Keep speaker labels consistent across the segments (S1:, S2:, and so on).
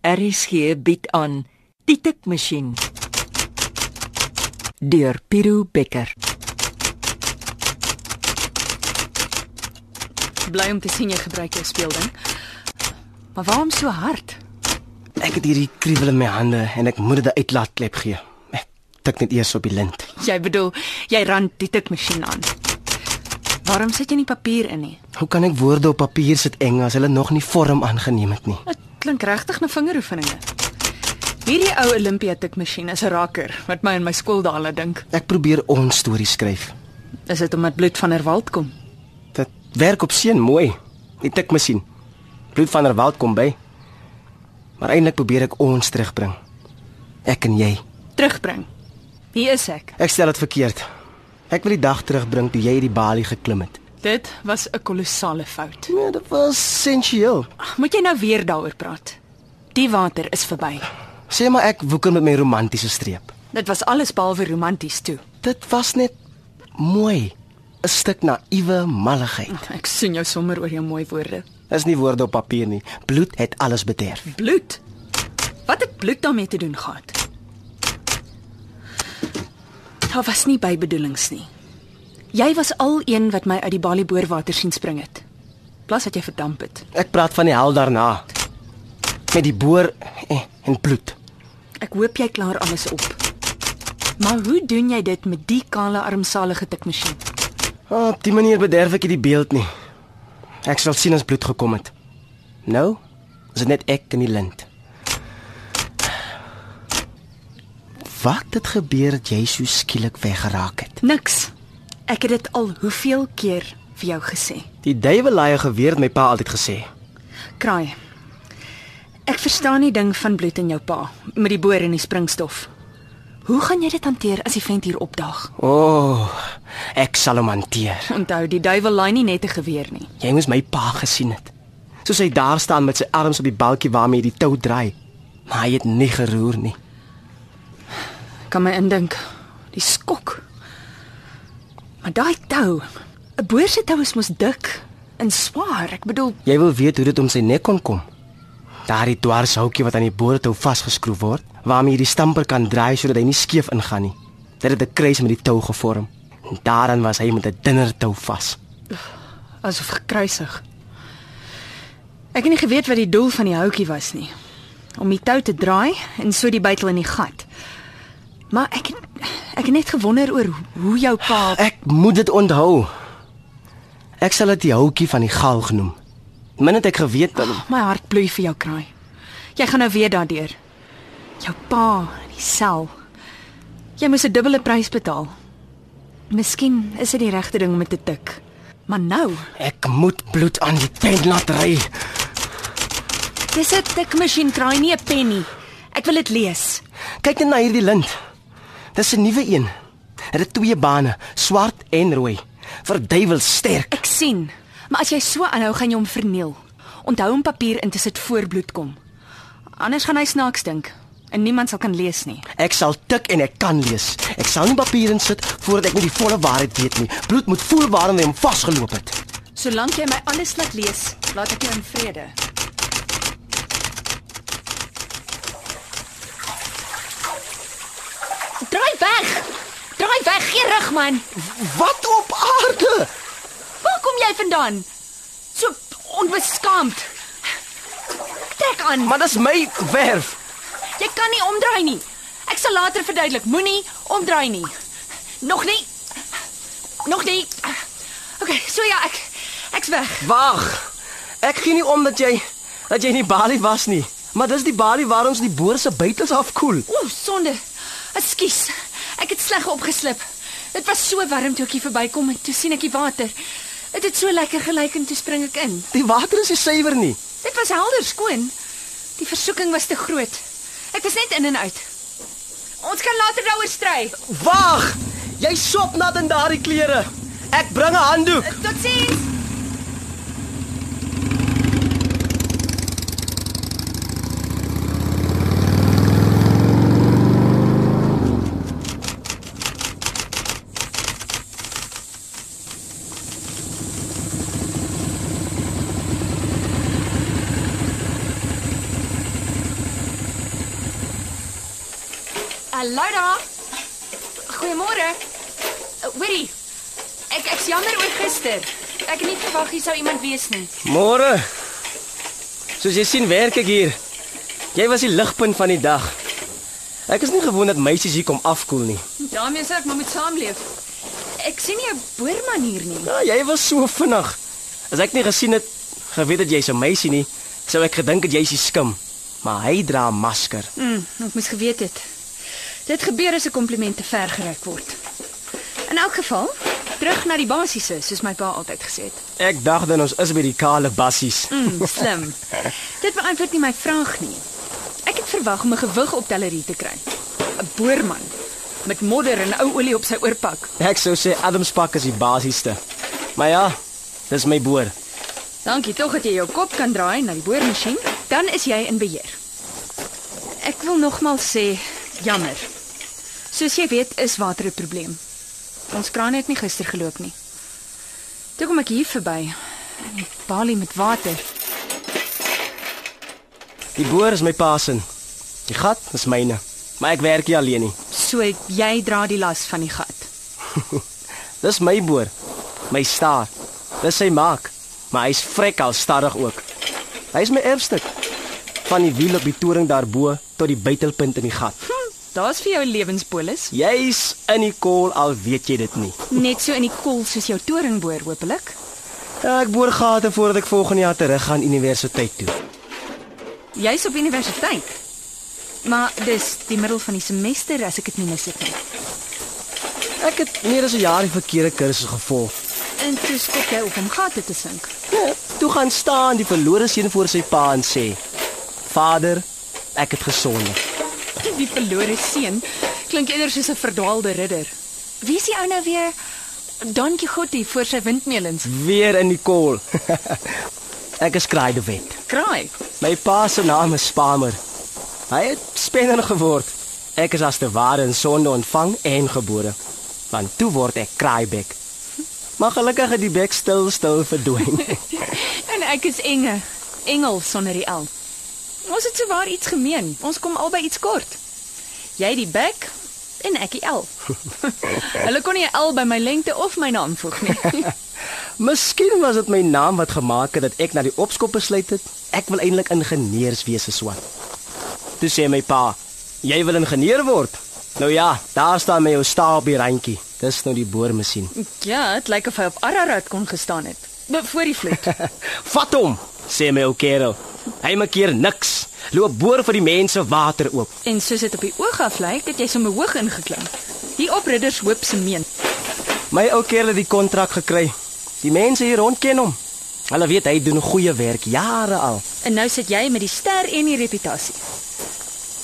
S1: RSG bied aan Die Tikmasjien deur Piro Becker.
S2: Bly om te sien jy gebruik jou speelding. Maar waarom so hard?
S3: Ek het hierdie kriewel in my hande en ek moet dit 'n uitlaatklep gee. Ek tik net eers op die lint.
S2: Jy bedoel, jy rand die tikmasjien aan. Waarom sit jy nie papier in nie?
S3: Hoe kan ek woorde op papier sit eng as hulle nog nie vorm aangeneem het nie?
S2: Dit klink regtig na vingeroefeninge. Hierdie ou Olympia tikmasjien is 'n raker wat my in my skooldae laat dink.
S3: Ek probeer ons storie skryf.
S2: Is dit omdat bloed van Herwald kom?
S3: Dit werk op seën mooi. Die tikmasjien. Bloed van der Walt kom by. Maar eintlik probeer ek ons terugbring. Ek en jy.
S2: Terugbring. Hier is ek.
S3: Ek stel dit verkeerd. Ek wil die dag terugbring toe jy hierdie balie geklim het.
S2: Dit was 'n kolossale fout.
S3: Nee, dit was essensieel.
S2: Ag, Moet jy nou weer daaroor praat? Die water is verby.
S3: Sê maar ek woeker met my romantiese streep.
S2: Dit was alles behalwe romanties toe.
S3: Dit was net mooi. 'n Stuk naïewe malligheid.
S2: Ek sien jou sommer oor jou mooi woorde.
S3: Dis nie woorde op papier nie. Bloed het alles bederf.
S2: Bloed. Wat het bloed daarmee te doen gehad? Daar was nie bybedoelings nie. Jy was al een wat my uit die Bali boorwater sien spring het. Plus wat jy verdamp het.
S3: Ek praat van die hel daarna. Met die boor en, en bloed.
S2: Ek hoop jy klaar alles op. Maar hoe doen jy dit met die kale armsalige tikmasjien?
S3: Oh, op die manier bederf ek nie die beeld nie. Ek sal sien as bloed gekom het. Nou is dit net ek en die lint. Wat het gebeur dat jy so skielik weggeraak het?
S2: Niks. Ek het dit al hoeveel keer vir jou gesê.
S3: Die duiwel laai 'n geweer het my pa altyd gesê.
S2: Kraai. Ek verstaan die ding van bloed in jou pa met die boor en die springstof. Hoe gaan jy dit hanteer as die vent hier opdaag?
S3: O, oh, ek sal hom hanteer.
S2: Onthou, die duiwel laai nie net 'n geweer nie.
S3: Jy moes my pa gesien het. Soos hy daar staan met sy arms op die balkie waarmee hy die tou draai, maar hy het nie geroer nie.
S2: Kan my indink, die skok. Maar daai tou, 'n boer se tou is mos dik en swaar. Ek bedoel,
S3: Jy wil weet hoe dit om sy nek kon kom. Daardie dwarshoutjie wat aan die boortou vasgeskroef word, waarmee jy die stamper kan draai sodat hy nie skeef ingaan nie. Dit het 'n kruis met die tou gevorm. En daaraan was hy met 'n dunner tou vas.
S2: asof gekruisig. Ek het nie geweet wat die doel van die houtjie was nie. Om die tou te draai en so die bytel in die gat. Maar ek het, ek het net gewonder oor hoe jou pa
S3: Ah, Ek moet dit onthou. Ek sal dit die houtjie van die gal genoem. Min het ek geweet dat
S2: My hart bloei vir jou kraai. Jy gaan nou weer daardeur. Jou pa, die sel. Jy moes 'n dubbele prys betaal. Miskien is dit die regte ding om dit te tik. Maar nou,
S3: ek moet bloed aan die tent laat ry.
S2: dis 'n tikmasjien kraai nie 'n pen nie. Ek wil dit lees.
S3: Kyk net na hierdie lint. Dis 'n nuwe een. Dit het twee bane, swart en rooi. Verduiwel sterk.
S2: Ek sien. Maar as jy so aanhou, gaan jy hom verneel. Onthou om papier in te sit voor bloed kom. Anders gaan hy snaaks dink en niemand sal kan lees nie.
S3: Ek sal tik en ek kan lees. Ek sal nie papier insit voordat ek nie die volle waarheid weet nie. Bloed moet voel waarom hy hom vasgeloop het.
S2: Solank jy my alles laat lees, laat ek jou in vrede.
S4: Draai weg. Draai weg, gee rug man.
S3: Wat op aarde?
S4: Waar kom jy vandaan? So onbeskaamd. Trek aan.
S3: Maar dis my werf.
S4: Jy kan nie omdraai nie. Ek sal later verduidelik. Moenie omdraai nie. Nog nie. Nog nie. Okay, so ja, ek ek's weg.
S3: Wag. Ek gee nie om dat jy dat jy nie Bali was nie. Maar dis die Bali waar ons die boer se buitels afkoel.
S4: O, sonde. Ekskuus. Ek het sleg opgeslip. Dit was so warm toe ek hier verbykom en toe sien ek die water. Dit het so lekker gelyk en toe spring ek in.
S3: Die water is nie suiwer nie.
S4: Dit was helder skoon. Die versoeking was te groot. Ek was net in en uit. Ons kan later daaroor stry.
S3: Wag. Jy sop nat in daardie klere. Ek bring 'n handdoek.
S4: Totsiens. Hallo daar. Goeiemôre.
S2: Eh,
S4: Hoorie. Ek ek's jammer oor gister. Ek het nie verwag hier sou iemand wees nie.
S3: Môre. Soos jy sien, werk ek hier. Jy was die ligpunt van die dag. Ek is nie gewoond dat meisies hier kom afkoel nie.
S4: Daarmee sê ek maar moet saamleef. Ek sien nie 'n boerman hier nie.
S3: Ja, jy was so vinnig. As ek nie gesien het geweet dat jy's 'n meisie nie, sou ek gedink het jy's die skim. Maar hy dra 'n masker.
S2: Mm, ek moes geweet het. Dit gebeur as 'n kompliment te ver gereik word. In elk geval, terug na die basiese, soos my pa altyd gesê het.
S3: Ek dacht dan ons is by die kale bassies.
S2: Mm, slim. Dit beantwoord nie my vraag nie. Ek het verwag om 'n gewigoptellerie te kry. 'n Boerman met modder en ou olie op sy oorpak.
S3: Ek sou sê Adams pak is die basiesste. Maar ja, dis my boer.
S2: Dankie tog dat jy jou kop kan draai na die boormasjien. Dan is jy in beheer. Ek wil nogmaals sê, jammer. Soos jy weet, is water 'n probleem. Ons kraan het nie gister geloop nie. Toe kom ek hier verby. en die Balie met water.
S3: Die boer is my pa se. Die gat is myne. Maar ek werk nie alleen nie.
S2: So jy dra die las van die gat.
S3: Dis my boer. My staar. Dis sy maak. Maar hy's vrek al stadig ook. Hy's my erfstuk. Van die wiel op die toring daarbo tot die buitelpunt in die gat.
S2: Hm, Daar's vir jou 'n lewenspolis.
S3: Jy's in die kool al weet jy dit nie.
S2: Net so in die koel soos jou toringboor hopelik.
S3: Ja, ek boor gate voordat ek volgende jaar terug gaan universiteit toe.
S2: Jy's op universiteit. Maar dis die middel van die semester as ek dit nie mis het nie.
S3: Ek het meer as 'n jaar die verkeerde kursus gevolg.
S2: En toe skop jy op om gate te sink.
S3: Ja, toe gaan staan die verlore seun voor sy pa en sê: "Vader, ek het gesondig."
S2: Die verlore seun klink eerder soos 'n verdwaalde ridder.
S4: Wie is die ou nou weer? Don Quixote voor sy windmeulens.
S3: Weer in die kool. ek is kraai de wet.
S2: Kraai.
S3: My pa se naam is Spamer. Hy het spenner geword. Ek is as te ware in sonde ontvang en gebore. Want toe word ek kraaibek. Maar gelukkig het die bek stil stil verdwyn.
S2: En ek is Enge. Engel sonder die L. Ons het sowaar iets gemeen. Ons kom albei iets kort. Jy die bek en ek die L. Hulle kon nie 'n L by my lengte of my naam voeg nie.
S3: Miskien was dit my naam wat gemaak het dat ek na die opskop besluit het ek wil eintlik ingenieurswese swat. Toe sê my pa, jy wil ingenieur word. Nou ja, daar staan my ou staal op die randjie. Dis nou die boormasjien.
S2: ja, dit lyk of hy op Ararat kon gestaan het. Be- Voor die vloed.
S3: Vat hom, sê my ou kerel. Hy maak hier niks. Loop boor vir die mense water oop.
S2: En soos dit op die oog af lyk, het jy sommer hoog ingeklim. Die opridders hoop se meen.
S3: My ou kerel het die kontrak gekry. Die mense hier rond ken hom. Hulle weet hy doen goeie werk jare al.
S2: En nou sit jy met die ster en die reputasie.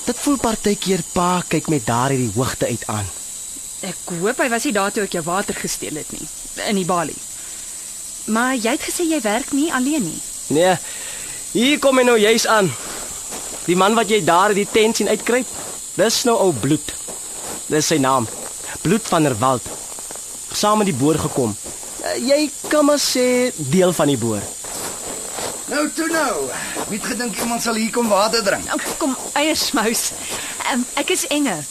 S3: Dit voel partykeer pa kyk met daardie hoogte uit aan.
S2: Ek hoop hy was nie daar toe ek jou water gesteel het nie in die balie. Maar jy het gesê jy werk nie alleen nie.
S3: Nee. Hier kom hy nou juis aan. Die man wat jy daar in die tent sien uitkruip, dis nou ou bloed. Dis sy naam. Bloed van der Walt. Saam met die boer gekom. Eh, Jy kan maar sê deel van die boer.
S5: Nou toe nou. Wie het gedink iemand sal hier kom water drink?
S2: Ag, Oh, Kom eiersmous. Um, ek is Enge.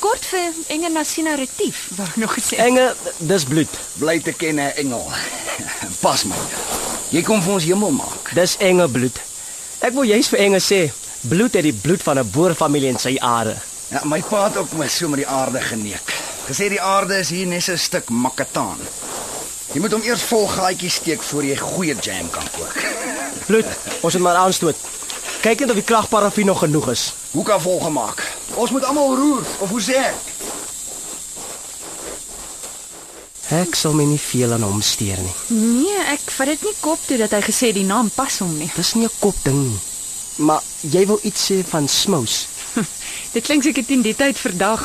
S2: Kort vir Enge Nasina Retief, wou ek nog gesê.
S3: Enge, dis bloed.
S5: Bly te ken 'n engel. Pas my. Jy kom vir ons hemel maak.
S3: Dis enge bloed. Ek wil juis vir Enge sê, bloed het die bloed van 'n boerfamilie in sy are.
S5: Ja, my pa het ook my so met die aarde geneek. Gesê die aarde is hier net so 'n stuk makataan. Jy moet hom eers vol gaatjies steek voor jy goeie jam kan kook.
S3: Bloed, ons moet maar aanstoot. Kyk net of die kragparaffie nog genoeg is.
S5: Hoe kan vol gemaak? Ons moet almal roer of hoe sê ek?
S3: Ek sal my nie veel aan hom steur nie.
S2: Nee, ek vat dit nie kop toe dat hy gesê die naam pas hom nie.
S3: Dis nie 'n kop ding nie. Maar jy wil iets sê van smous.
S2: Dit klink seker teen die tyd vandag,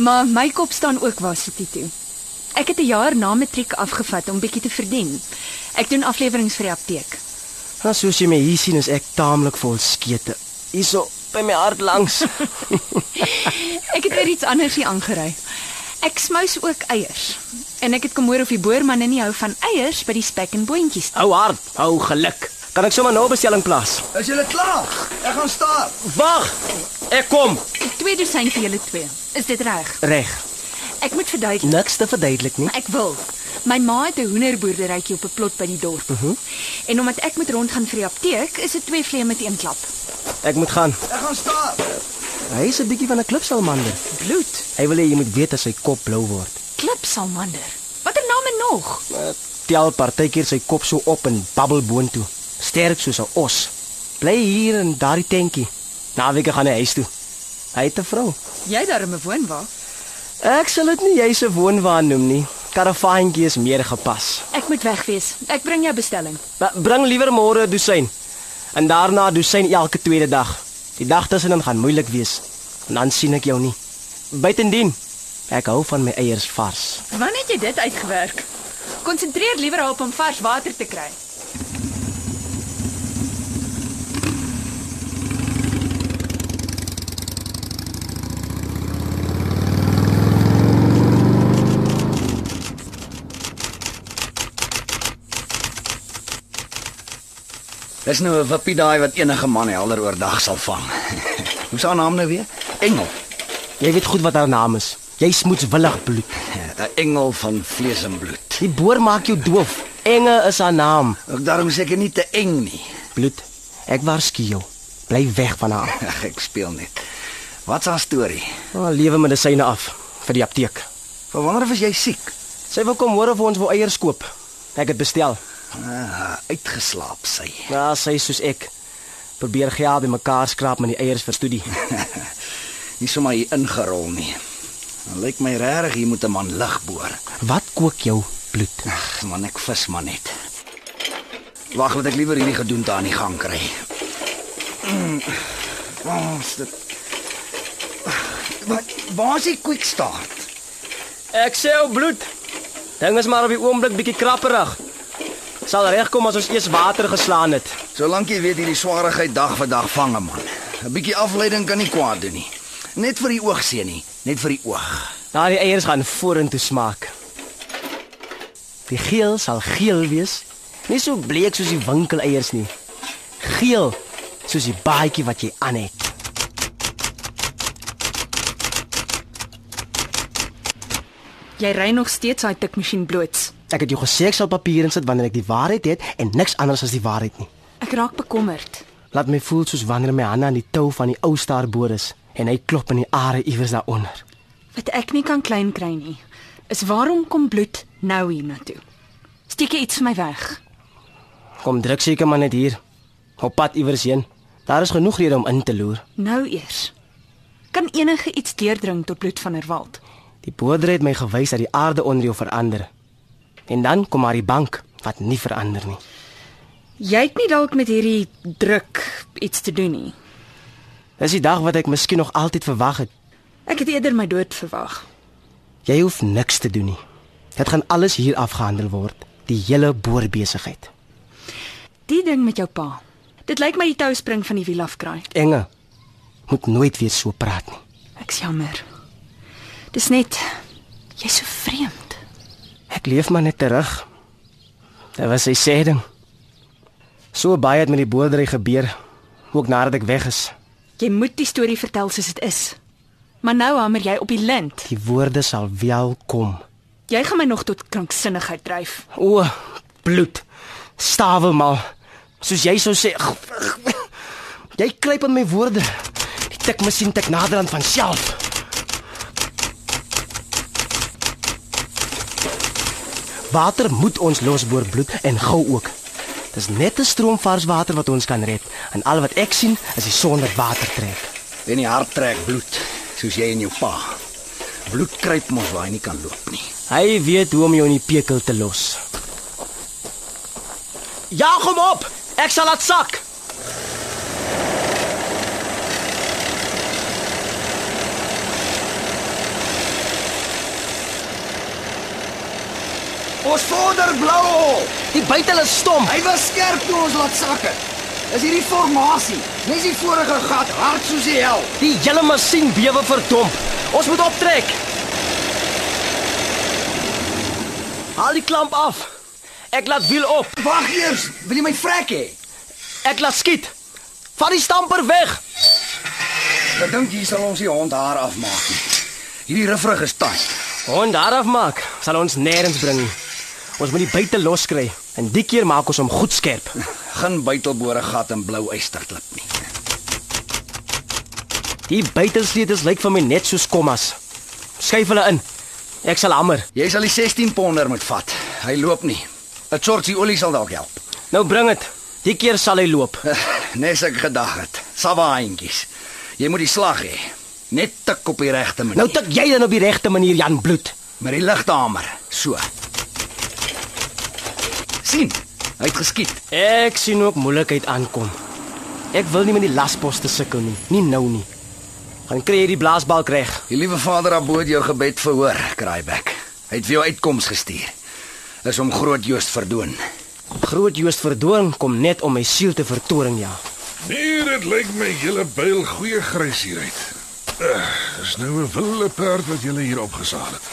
S2: maar my kop staan ook waar sit dit toe. Ek het 'n jaar na matriek afgevat om bietjie te verdien. Ek doen afleweringe vir die apteek.
S3: Nou soos jy my hier sien is ek taamlik vol skete. Hierso by my hart langs.
S2: Ek het weer iets anders hier aangery. Ek smous ook eiers. En ek het kom hoor of die boermanne nie hou van eiers by die spek en boontjies.
S3: hou hard, hou geluk. Kan ek sommer nou bestelling plaas?
S5: Is jy klaar? Ek gaan staan.
S3: Wag. Ek kom.
S4: Twee dosyn vir julle twee. Is dit reg?
S3: Reg.
S4: Ek moet verduidelik.
S3: Niks te verduidelik nie.
S4: Ek wil. My ma het 'n hoenderboerderytjie op 'n plot by die dorp. Uh -huh. En omdat ek moet rondgaan vir die apteek, is dit twee vleie met een klap.
S3: Ek moet gaan.
S5: Ek gaan staan.
S3: Hy is 'n bietjie van 'n klipsalmander.
S4: Bloed.
S3: Hy wil hê jy moet weet as sy kop blou word.
S4: Klipsalmander. Watter name nog?
S3: Tel partykeer sy kop so op en babbel boontoe. Sterk soos 'n os. Bly hier in daardie tentjie. Naweke gaan hy huis toe. Hy het 'n vrou.
S2: Jy daarmee woon waar?
S3: Ek sal dit nie jy se woonwaan noem nie. Karavaantjie is meer gepas.
S4: Ek moet weg wees. Ek bring jou bestelling.
S3: Maar bring liewer môre 'n dosyn. En daarna 'n dosyn elke tweede dag. Die dag tussenin gaan moeilik wees. En dan sien ek jou nie. Buitendien, ek hou van my eiers vars.
S4: Wanneer het jy dit uitgewerk? Konsentreer liewer op om vars water te kry.
S5: Dis nou 'n wippie daai wat enige man helder oordag sal vang. Hoe sou haar naam nou weer? Engel.
S3: Jy weet goed wat haar naam is. Jy smoets willig bloed.
S5: 'n Ja, Engel van vlees en bloed.
S3: Die boer maak jou doof. Enge is haar naam.
S5: Ook daarom seker nie te eng nie.
S3: Bloed. Ek waarsku jou. Bly weg van haar.
S5: Ag, ek speel net. Wat's haar storie?
S3: Haar lewe medisyne af vir die apteek.
S5: Van wanneer af is jy siek?
S3: Sy wil kom hoor of ons wil eiers koop. Ek het bestel.
S5: Ah, uitgeslaap sy.
S3: Ja, sy is soos ek. Probeer geld bymekaar skraap met die eiers vir studie.
S5: Nie sommer hier ingerol nie. Dan lyk my regtig hier moet 'n man lig boor.
S3: Wat kook jou bloed?
S5: Ag, man, ek vis maar net. Wag, laat ek liewer hierdie gedoente aan die gang kry. Mm. Waar is dit? Ag, Wat waar is die quick start?
S3: Ek sê jou bloed. Ding is maar op die oomblik bietjie krapperig. Sal regkom as ons eers water geslaan het.
S5: Solank jy weet hierdie swaarigheid dag vir dag vang 'n man. 'n Bietjie afleiding kan nie kwaad doen nie. Net vir die oog seën nie, net vir die oog.
S3: Daardie Nou, eiers gaan vorentoe smaak. Die geel sal geel wees, nie so bleek soos die winkeleiers nie. Geel soos die baadjie wat jy aan het.
S2: Jy ry nog steeds daai tikmasjien bloots.
S3: Ek het jou gesê ek sal papier insit wanneer ek die waarheid het en niks anders as die waarheid nie.
S2: Ek raak bekommerd.
S3: Laat my voel soos wanneer my hande aan die tou van die ou staarboor is en hy klop in die are iewers daaronder.
S2: Wat ek nie kan klein kry nie, is waarom kom bloed nou hiernatoe? Steek jy iets vir my weg?
S3: Kom druk seker maar net hier. Op pad iewers heen. Daar is genoeg rede om in te loer.
S2: Nou eers. Kan enige iets deurdring tot bloed van Herwald?
S3: Die boerdery het my gewys dat die aarde onder jou verander. En dan kom maar die bank wat nie verander nie.
S2: Jy het nie dalk met hierdie druk iets te doen nie.
S3: Dis die dag wat ek miskien nog altyd verwag het.
S2: Ek het eerder my dood verwag.
S3: Jy hoef niks te doen nie. Dit gaan alles hier afgehandel word, die hele boerbesigheid.
S2: Die ding met jou pa. Dit lyk my die tou spring van die wiel af kraai.
S3: Enge moet nooit weer so praat nie.
S2: Ek's jammer. Dis net jy's so vreemd.
S3: Ek leef maar net terug. Dit was sy sê ding. So baie het met die boerdery gebeur, ook nadat ek weg is.
S2: Jy moet die storie vertel soos dit is. Maar nou hamer jy op die lint.
S3: Die woorde sal wel kom.
S2: Jy gaan my nog tot kranksinnigheid dryf.
S3: O, bloed. Stawe mal. Soos jy sou sê. Ag, ag, Jy kruip aan my woorde. Die tikmasjien tik nader aan van self. Water moet ons losboor bloed en gou ook. Dis net 'n stroom vars water wat ons kan red. En al wat ek sien is die son wat water trek.
S5: En die hart trek bloed, soos jy en jou pa. Bloed kruip mos waar hy nie kan loop nie.
S3: Hy weet hoe om jou in die pekel te los. Jaag hom op. Ek sal laat sak.
S5: Ons vorder blou.
S3: Die buitel is stom.
S5: Hy was skerp toe ons laat sak het. Is hierdie formasie, nes die vorige gat hard soos die hel.
S3: Die hele masjien bewe verdomp. Ons moet optrek. Haal die klamp af. Ek laat wiel op.
S5: Wag eers, wil jy my vrek hê?
S3: Ek laat skiet. Vat die stamper weg.
S5: Ek dink hier sal ons die hond haar afmaak. nie. Hierdie rifferige stad.
S3: Hond daar afmaak, sal ons nêrens bring. nie. Ons moet die buite loskry en die keer maak ons hom goed skerp.
S5: Geen buitelbore gat en blou eysterklip nie.
S3: Die buitensleutels lyk vir my net soos kommas. Skuif hulle in. Ek sal hamer.
S5: Jy sal die 16 ponder moet vat. Hy loop nie. 'n Sortie olie sal dalk help.
S3: Nou bring dit. Die keer sal hy loop.
S5: Nes ek gedag het. Sawaantjies. Jy moet die slag hê. Net tik op die regte manier.
S3: Nou tik jy dan op die regte manier Jan Bloed.
S5: met die lighamer. So. sien. Hy het geskiet.
S3: Ek sien ook moeilikheid aankom. Ek wil nie met die laspos te sukkel nie, nie nou nie. Gaan kry jy die blaasbalk reg.
S5: Die liewe Vader aboot jou gebed verhoor, Kraaiback. Hy het vir jou uitkoms gestuur. Is om groot Joost verdoen.
S3: Groot Joost Verdoorn kom net om my siel te vertoring, ja.
S6: Nee, dit lyk my julle byl goeie grys hier uit. Uh, dis nou 'n wilde perd wat julle hier opgesaal het.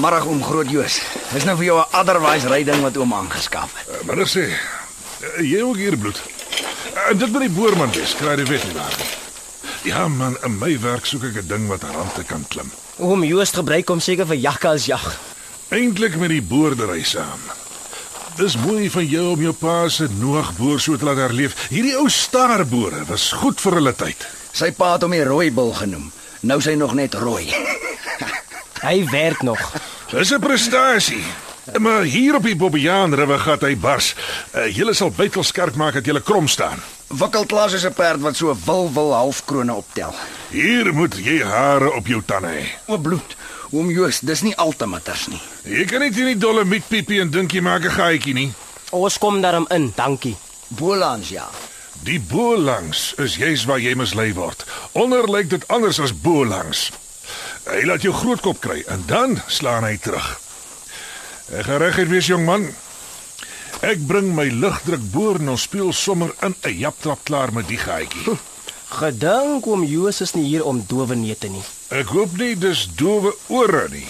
S5: Middag om groot Joost. Dis nou vir jou 'n otherwise ryding wat oom aangeskaf het.
S6: Uh, maar ek sê, uh, jy ook hier bloed. Uh, en dit met die boerman wees, kry die wet nie daar nie. Ja man, in my werk soek ek 'n ding wat aan rande kan klim.
S3: Oom Joost gebruik hom seker vir jakke as jag.
S6: Eintlik met die boerdery saam. Dis mooi van jou om jou pa se noogboer so te laat herleef. Hierdie ou staarboere was goed vir hulle tyd.
S5: Sy pa het hom die rooi bil genoem. Nou is hy nog net rooi.
S3: Hy werk nog.
S6: Dis 'n prestasie. Maar hier op die Bobbejaan rivier gat hy bars. Uh, julle sal bytel skerp maak dat julle krom staan.
S5: Wikkelklaas is 'n perd wat so wil wil halfkrone optel.
S6: Hier moet jy hare op jou tande hê.
S5: O bloed. Oom Joost, dis nie altematters nie.
S6: Jy kan net in die dolle mietpiepie en dink jy maak 'n gaatjie nie.
S3: Ons kom daarom in, dankie.
S5: Bolans ja.
S6: Die bo langs is juis waar jy mislei word. Onder lyk dit anders as bo langs. Hy laat jou grootkop kry en dan slaan hy terug. Ek geregheid wees jong man. Ek bring my ligdrukboor en ons speel sommer in 'n japtrap klaar met die gaatjie.
S3: Gedink oom Joost is nie hier om dowe neete nie.
S6: Ek hoop nie dis dowe ore nie.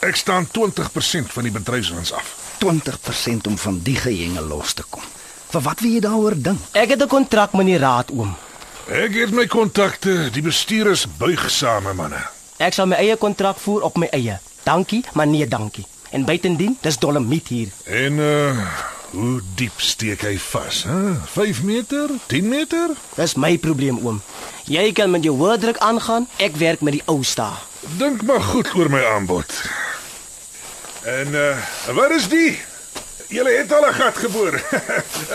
S6: Ek staan 20% van die bedryfswins af.
S5: 20% om van die gehenge los te kom. Vir wat wil jy daaroor dink?
S3: Ek het 'n kontrak met die raad oom.
S6: Ek het my kontakte, die bestuurders buigsame manne.
S3: Ek sal my eie kontrak voer op my eie. Dankie, maar nee dankie. En buitendien, dis dolomiet hier.
S6: En uh hoe diep steek hy vas, hè? 5 meter? 10 meter?
S3: Dis my probleem oom. Jy kan met jou woorddruk aangaan, ek werk met die ou sta.
S6: Dink maar goed oor my aanbod. En uh wat is die? Julle het al 'n gat geboor.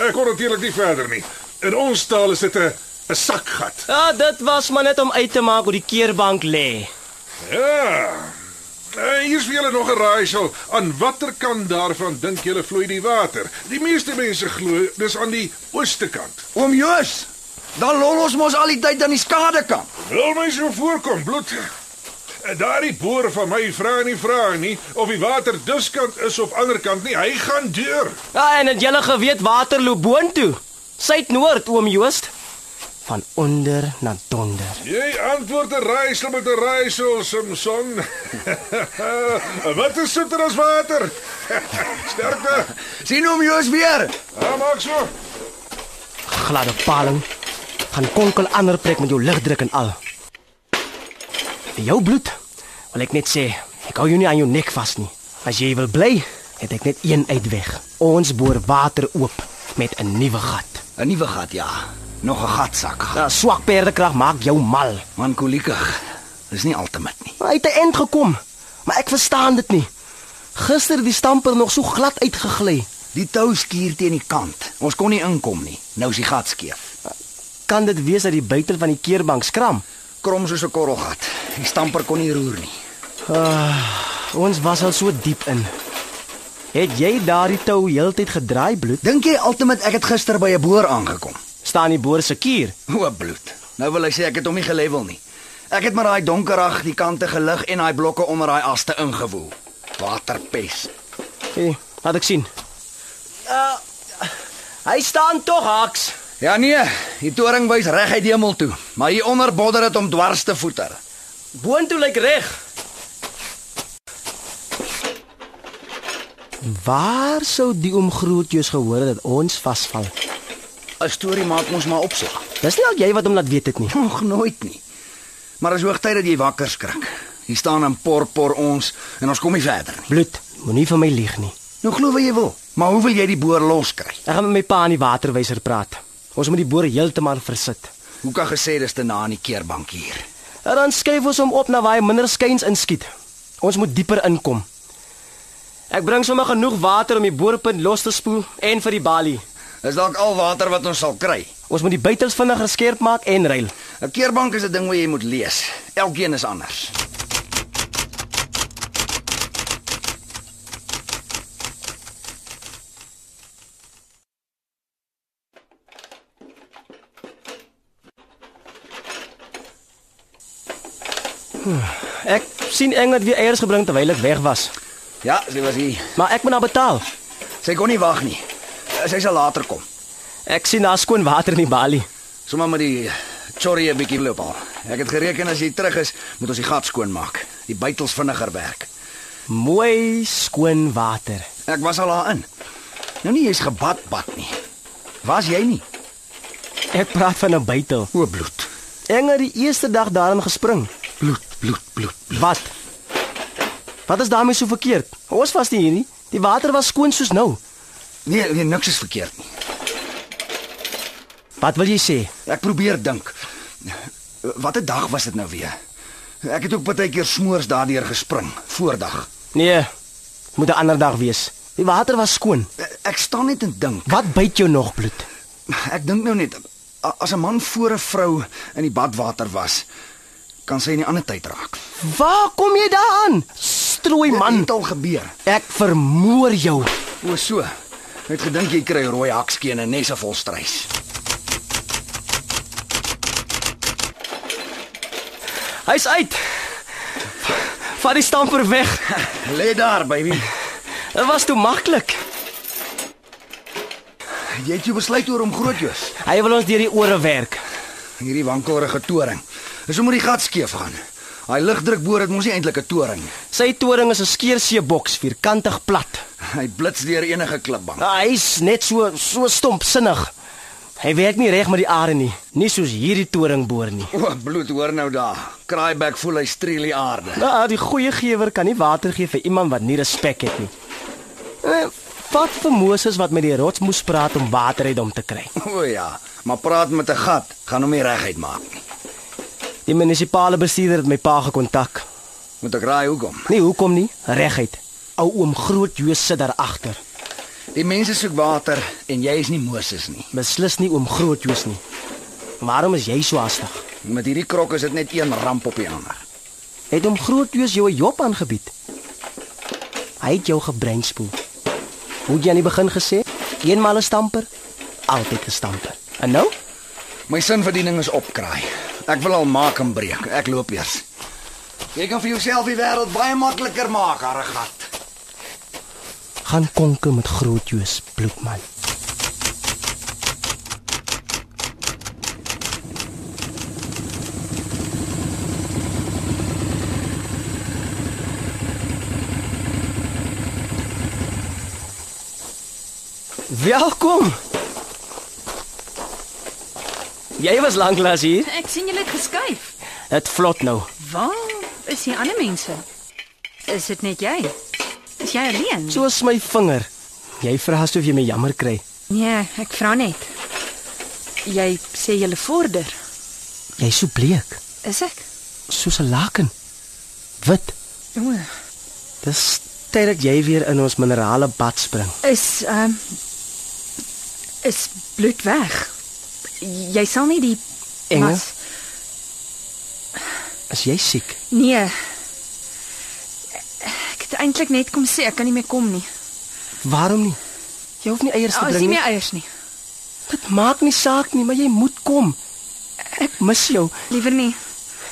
S6: Ek kon natuurlik nie verder nie. In ons taal is dit 'n 'n sakgat.
S3: Ja, dit was maar net om uit te maak hoe die keerbank lê.
S6: Ja. Uh, hier is vir julle nog 'n raaisel. Aan watter kant daarvan dink julle vloei die water? Die meeste mense glo dis aan die ooste kant.
S5: Oom Joos, dan lol ons mos al die tyd aan die skade kan.
S6: Wil my so voorkom, bloed. En daardie boer van my vra nie vra nie of die water diskant is of ander kant nie. Hy gaan deur.
S3: Ja, en het julle geweet Waterloo boontoe? Suidnoord, oom Joost. Van onder na donder.
S6: Jy antwoord 'n raaisel met 'n raaisel, Samson. Wat is soeter as water? Sterkte.
S5: Sien oom Joos weer.
S6: Ja, maak so.
S3: Gladde paling. Gaan konkel ander plek met jou ligdruk en al. Vir jou bloed. Wil ek net sê, ek hou jou nie aan jou nek vas nie. As jy wil bly, het ek net een uitweg. Ons boor water oop met 'n nuwe gat.
S5: 'n Nuwe gat ja. Nog 'n gatsak.
S3: Ja, swak perdekrag maak jou mal.
S5: Man koliekig. Dis nie altemit nie.
S3: Hy het te eind gekom, maar ek verstaan dit nie. Gister het die stamper nog so glad uitgegly.
S5: Die tou skuur teen die kant. Ons kon nie inkom nie. Nou is die gat skeef.
S3: Kan dit wees dat die buitel van die keerbank skram?
S5: Krom soos 'n korrelgat. Die stamper kon nie roer nie.
S3: Ons was al so diep in. Het jy daardie tou heeltyd gedraai bloed?
S5: Dink jy altemit ek het gister by 'n boer aangekom?
S3: Staan die boer se kier.
S5: O bloed. Nou wil hy sê ek het hom nie gelevel nie. Ek het maar daai donkerag die kante gelig en daai blokke onder daai aste ingewoel. Waterpes.
S3: Hey, laat ek sien. Uh, hy staan tog haks.
S5: Ja nee, die toring wys reguit die hemel toe, maar hier onder bodder dit om dwars te voeter.
S3: Boontoe lyk reg. Waar sou die oom Grootjoes gehoor het dat ons vasval?
S5: 'n Storie maak ons maar opsla.
S3: Dis nie al jy wat hom laat weet het nie.
S5: Nog nooit nie. Maar is hoogtyd dat jy wakker skrik. Hier staan 'n porpor ons en ons kom nie verder nie.
S3: Bloed, moenie vir my lieg nie.
S5: Nou glo wat jy wil, maar hoe wil jy die boer loskry?
S3: Ek gaan met my pa aan die waterwyser praat. Ons moet die boere heeltemal versit.
S5: Hoe kan gesê dis te na in die keerbank hier?
S3: En dan skuif ons hom op na waar hy minder skuins inskiet. Ons moet dieper inkom. Ek bring sommer genoeg water om die boorpunt los te spoel en vir die balie.
S5: Dis dalk al water wat ons sal kry.
S3: Ons moet die buitels vinniger skerp maak en ruil.
S5: 'n Keerbank is 'n ding wat jy moet lees. Elkeen is anders.
S3: Ek sien Engert weer eiers gebring terwyl ek weg was,
S5: Ja, sy was hier.
S3: maar ek moet haar betaal.
S5: Sy kon nie wag nie. Sy sal later kom.
S3: Ek sien daar skoon water in die balie.
S5: Sommige met die chorrie 'n bietjie loop al. Ek het gereken as jy terug is, moet ons die gat skoonmaak. Die buitels vinniger werk.
S3: Mooi skoon water.
S5: Ek was al daarin. Nou nie jy's gebad bad nie. Was jy nie?
S3: Ek praat van 'n buitel.
S5: O bloed.
S3: Engert die eerste dag daarin gespring.
S5: Bloed, bloed, bloed.
S3: Wat? Wat is daarmee so verkeerd? Ons was nie hier nie. Die water was skoon soos nou.
S5: Nee, nee, niks is verkeerd nie.
S3: Wat wil jy sê?
S5: Ek probeer dink. Watter dag was dit nou weer? Ek het ook baie keer smoors daardeur gespring, voordag.
S3: Nee. Moet 'n ander dag wees. Die water was skoon.
S5: Ek staan net en dink.
S3: Wat byt jou nog bloed?
S5: Ek dink nou net a- as 'n man voor 'n vrou in die badwater was, kan sy in die ander tyd raak.
S3: Waar kom jy daaraan? Strooi man,
S5: dit al gebeur.
S3: ek vermoor jou.
S5: O so. Ek het gedink jy kry rooi hakskene en nesse vol struis.
S3: Hy's uit. Vat die stamper weg.
S5: Lê daar, baby.
S3: Dit was toe maklik.
S5: Jy het jou besluit oor hom grootjous.
S3: Hy wil ons deur die ore werk.
S5: Hierdie wankelrige toring. Dis om oor die gat skeef gaan. Hy ligdrukboor het mos nie eintlik 'n toring nie.
S3: Sy toring is 'n skeerseeboks, vierkantig plat.
S5: Hy blits deur enige klipbank.
S3: Hy's net so so stompsinnig. Hy werk nie reg met die are nie, nie soos hierdie toringboor nie.
S5: O, bloed hoor nou daar. Kraaiback voel hy streel die aarde.
S3: Nou, die goeie gewer kan nie water gee vir iemand wat nie respek het nie. Eh, Vat vir Moses wat met die rots moes praat om water uit hom te kry.
S5: O ja, maar praat met 'n gat gaan hom nie reguit maak nie.
S3: Die munisipale bestuurder het my pa gekontak.
S5: Moet ek raai hoekom?
S3: Nee, hoekom nie? Reguit. Ou oom Groot Joos sit daar agter.
S5: Die mense soek water en jy is nie Moses nie.
S3: Beslis nie oom Groot Joos nie. Waarom is jy so haastig?
S5: Met hierdie krok is dit net een ramp op die ander.
S3: Het oom Groot Joos jou 'n job aangebied? Hy het jou gebreinspoel. Hoe het jy aan die begin gesê, eenmal 'n stamper, altyd 'n stamper. En nou?
S5: My sinverdiening is opkraai. Ek wil al maak en breek. Ek loop eers. Jy kan vir jouself die wêreld baie makliker maak, Harregat.
S3: gaan konke met groot Joos Bloekman. Welkom. Jy was lanklaas hier.
S2: Ek sien julle het geskuif.
S3: Dit vlot nou.
S2: Waar is die ander mense? Is dit net jy? Is jy alleen?
S3: Soos my vinger. Jy vra asof jy my jammer kry.
S2: Nee, ek vra net. Jy sê jy vorder.
S3: Jy's so bleek,
S2: Is ek?
S3: soos 'n laken. Wit.
S2: O,
S3: Dis tyd dat jy weer in ons minerale bad spring.
S2: is ehm um, is bloed weg. Jy sal nie die
S3: Engel?
S2: mas-
S3: As jy siek,
S2: Nee. Ek het eintlik net kom sê ek kan nie meer kom nie.
S3: waarom nie? Jy hoef nie eiers te
S2: Daar Oh, is
S3: bring
S2: nie
S3: nie.
S2: meer eiers nie.
S3: Dit maak nie saak nie, maar jy moet kom. Ek mis jou.
S2: Liewer nie.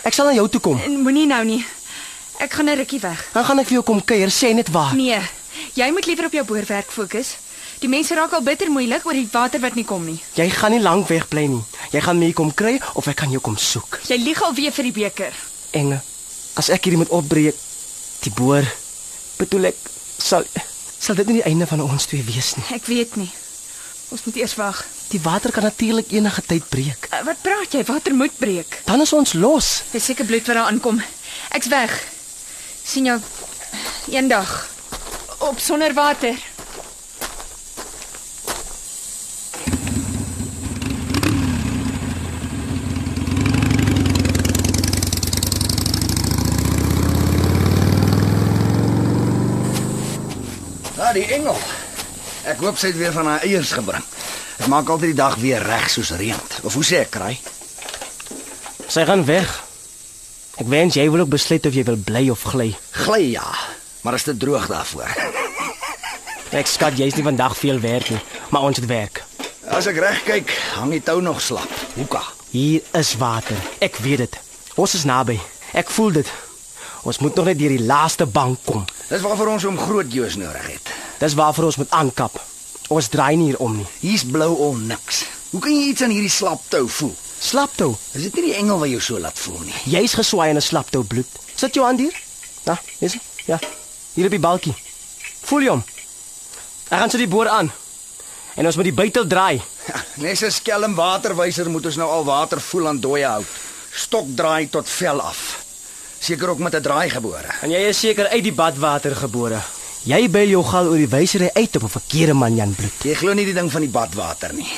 S3: Ek sal na jou toe kom.
S2: En Moenie nou nie. Ek gaan 'n rukkie weg.
S3: Dan gaan ek vir jou kom kuier, sê net waar.
S2: Nee, jy moet liewer op jou boorwerk fokus. Die mense raak al bitter moeilik oor die water wat nie kom nie.
S3: Jy gaan nie lank weg bly nie. Jy gaan my hier kom kry of ek kan jou kom soek.
S2: Jy lieg al weer vir die beker.
S3: Enge. As ek hierdie moet opbreek, die boer, bedoel ek sal sal dit nie die einde van ons twee wees nie.
S2: Ek weet nie. Ons moet eers wag.
S3: Die water kan natuurlik enige tyd breek.
S2: Eh, Wat praat jy? Water moet breek.
S3: Dan is ons los.
S2: Dis seker bloed wat daar aankom. Ek's weg. sien jou eendag op sonder water.
S5: Ja, die engel. Ek hoop sy het weer van haar eiers gebring. Dit maak altyd die dag weer reg soos reën. Of hoe sê ek, kraai?
S3: Sy gaan weg. Ek wens jy wil ook besluit of jy wil bly of gly.
S5: Gly ja, maar is te droog daarvoor.
S3: Ek skat jy's nie vandag veel werk nie, maar ons het werk.
S5: As ek reg kyk, hang die tou nog slap. Hoeka.
S3: Hier is water. Ek weet dit. Ons is naby. Ek voel dit. Ons moet nog net deur die laaste bank kom.
S5: Dis waarvoor ons om groot Joos nodig het.
S3: Dis waarvoor ons moet aankap. Ons draai nie hier om nie.
S5: Hier's blou om niks. Hoe kan jy iets aan hierdie slap tou voel?
S3: Slap toe.
S5: Is dit nie die engel wat jou so laat voel nie?
S3: Jy's geswaai in 'n slap toe bloed. Sit jou hand hier. Ja, is dit? Ja. Hier op die balkie. Voel jy hom? Ek gaan so die boor aan. En ons moet die buitel draai.
S5: Nes 'n skelm waterwyser moet ons nou al water voel aan dooie hout. Stok draai tot vel af. Seker ook met 'n draai gebore.
S3: En jy is seker uit die badwater gebore. Jy byl jou gal oor die wysery uit op 'n verkeerde man Jan Bloed.
S5: Jy glo nie die ding van die badwater nie.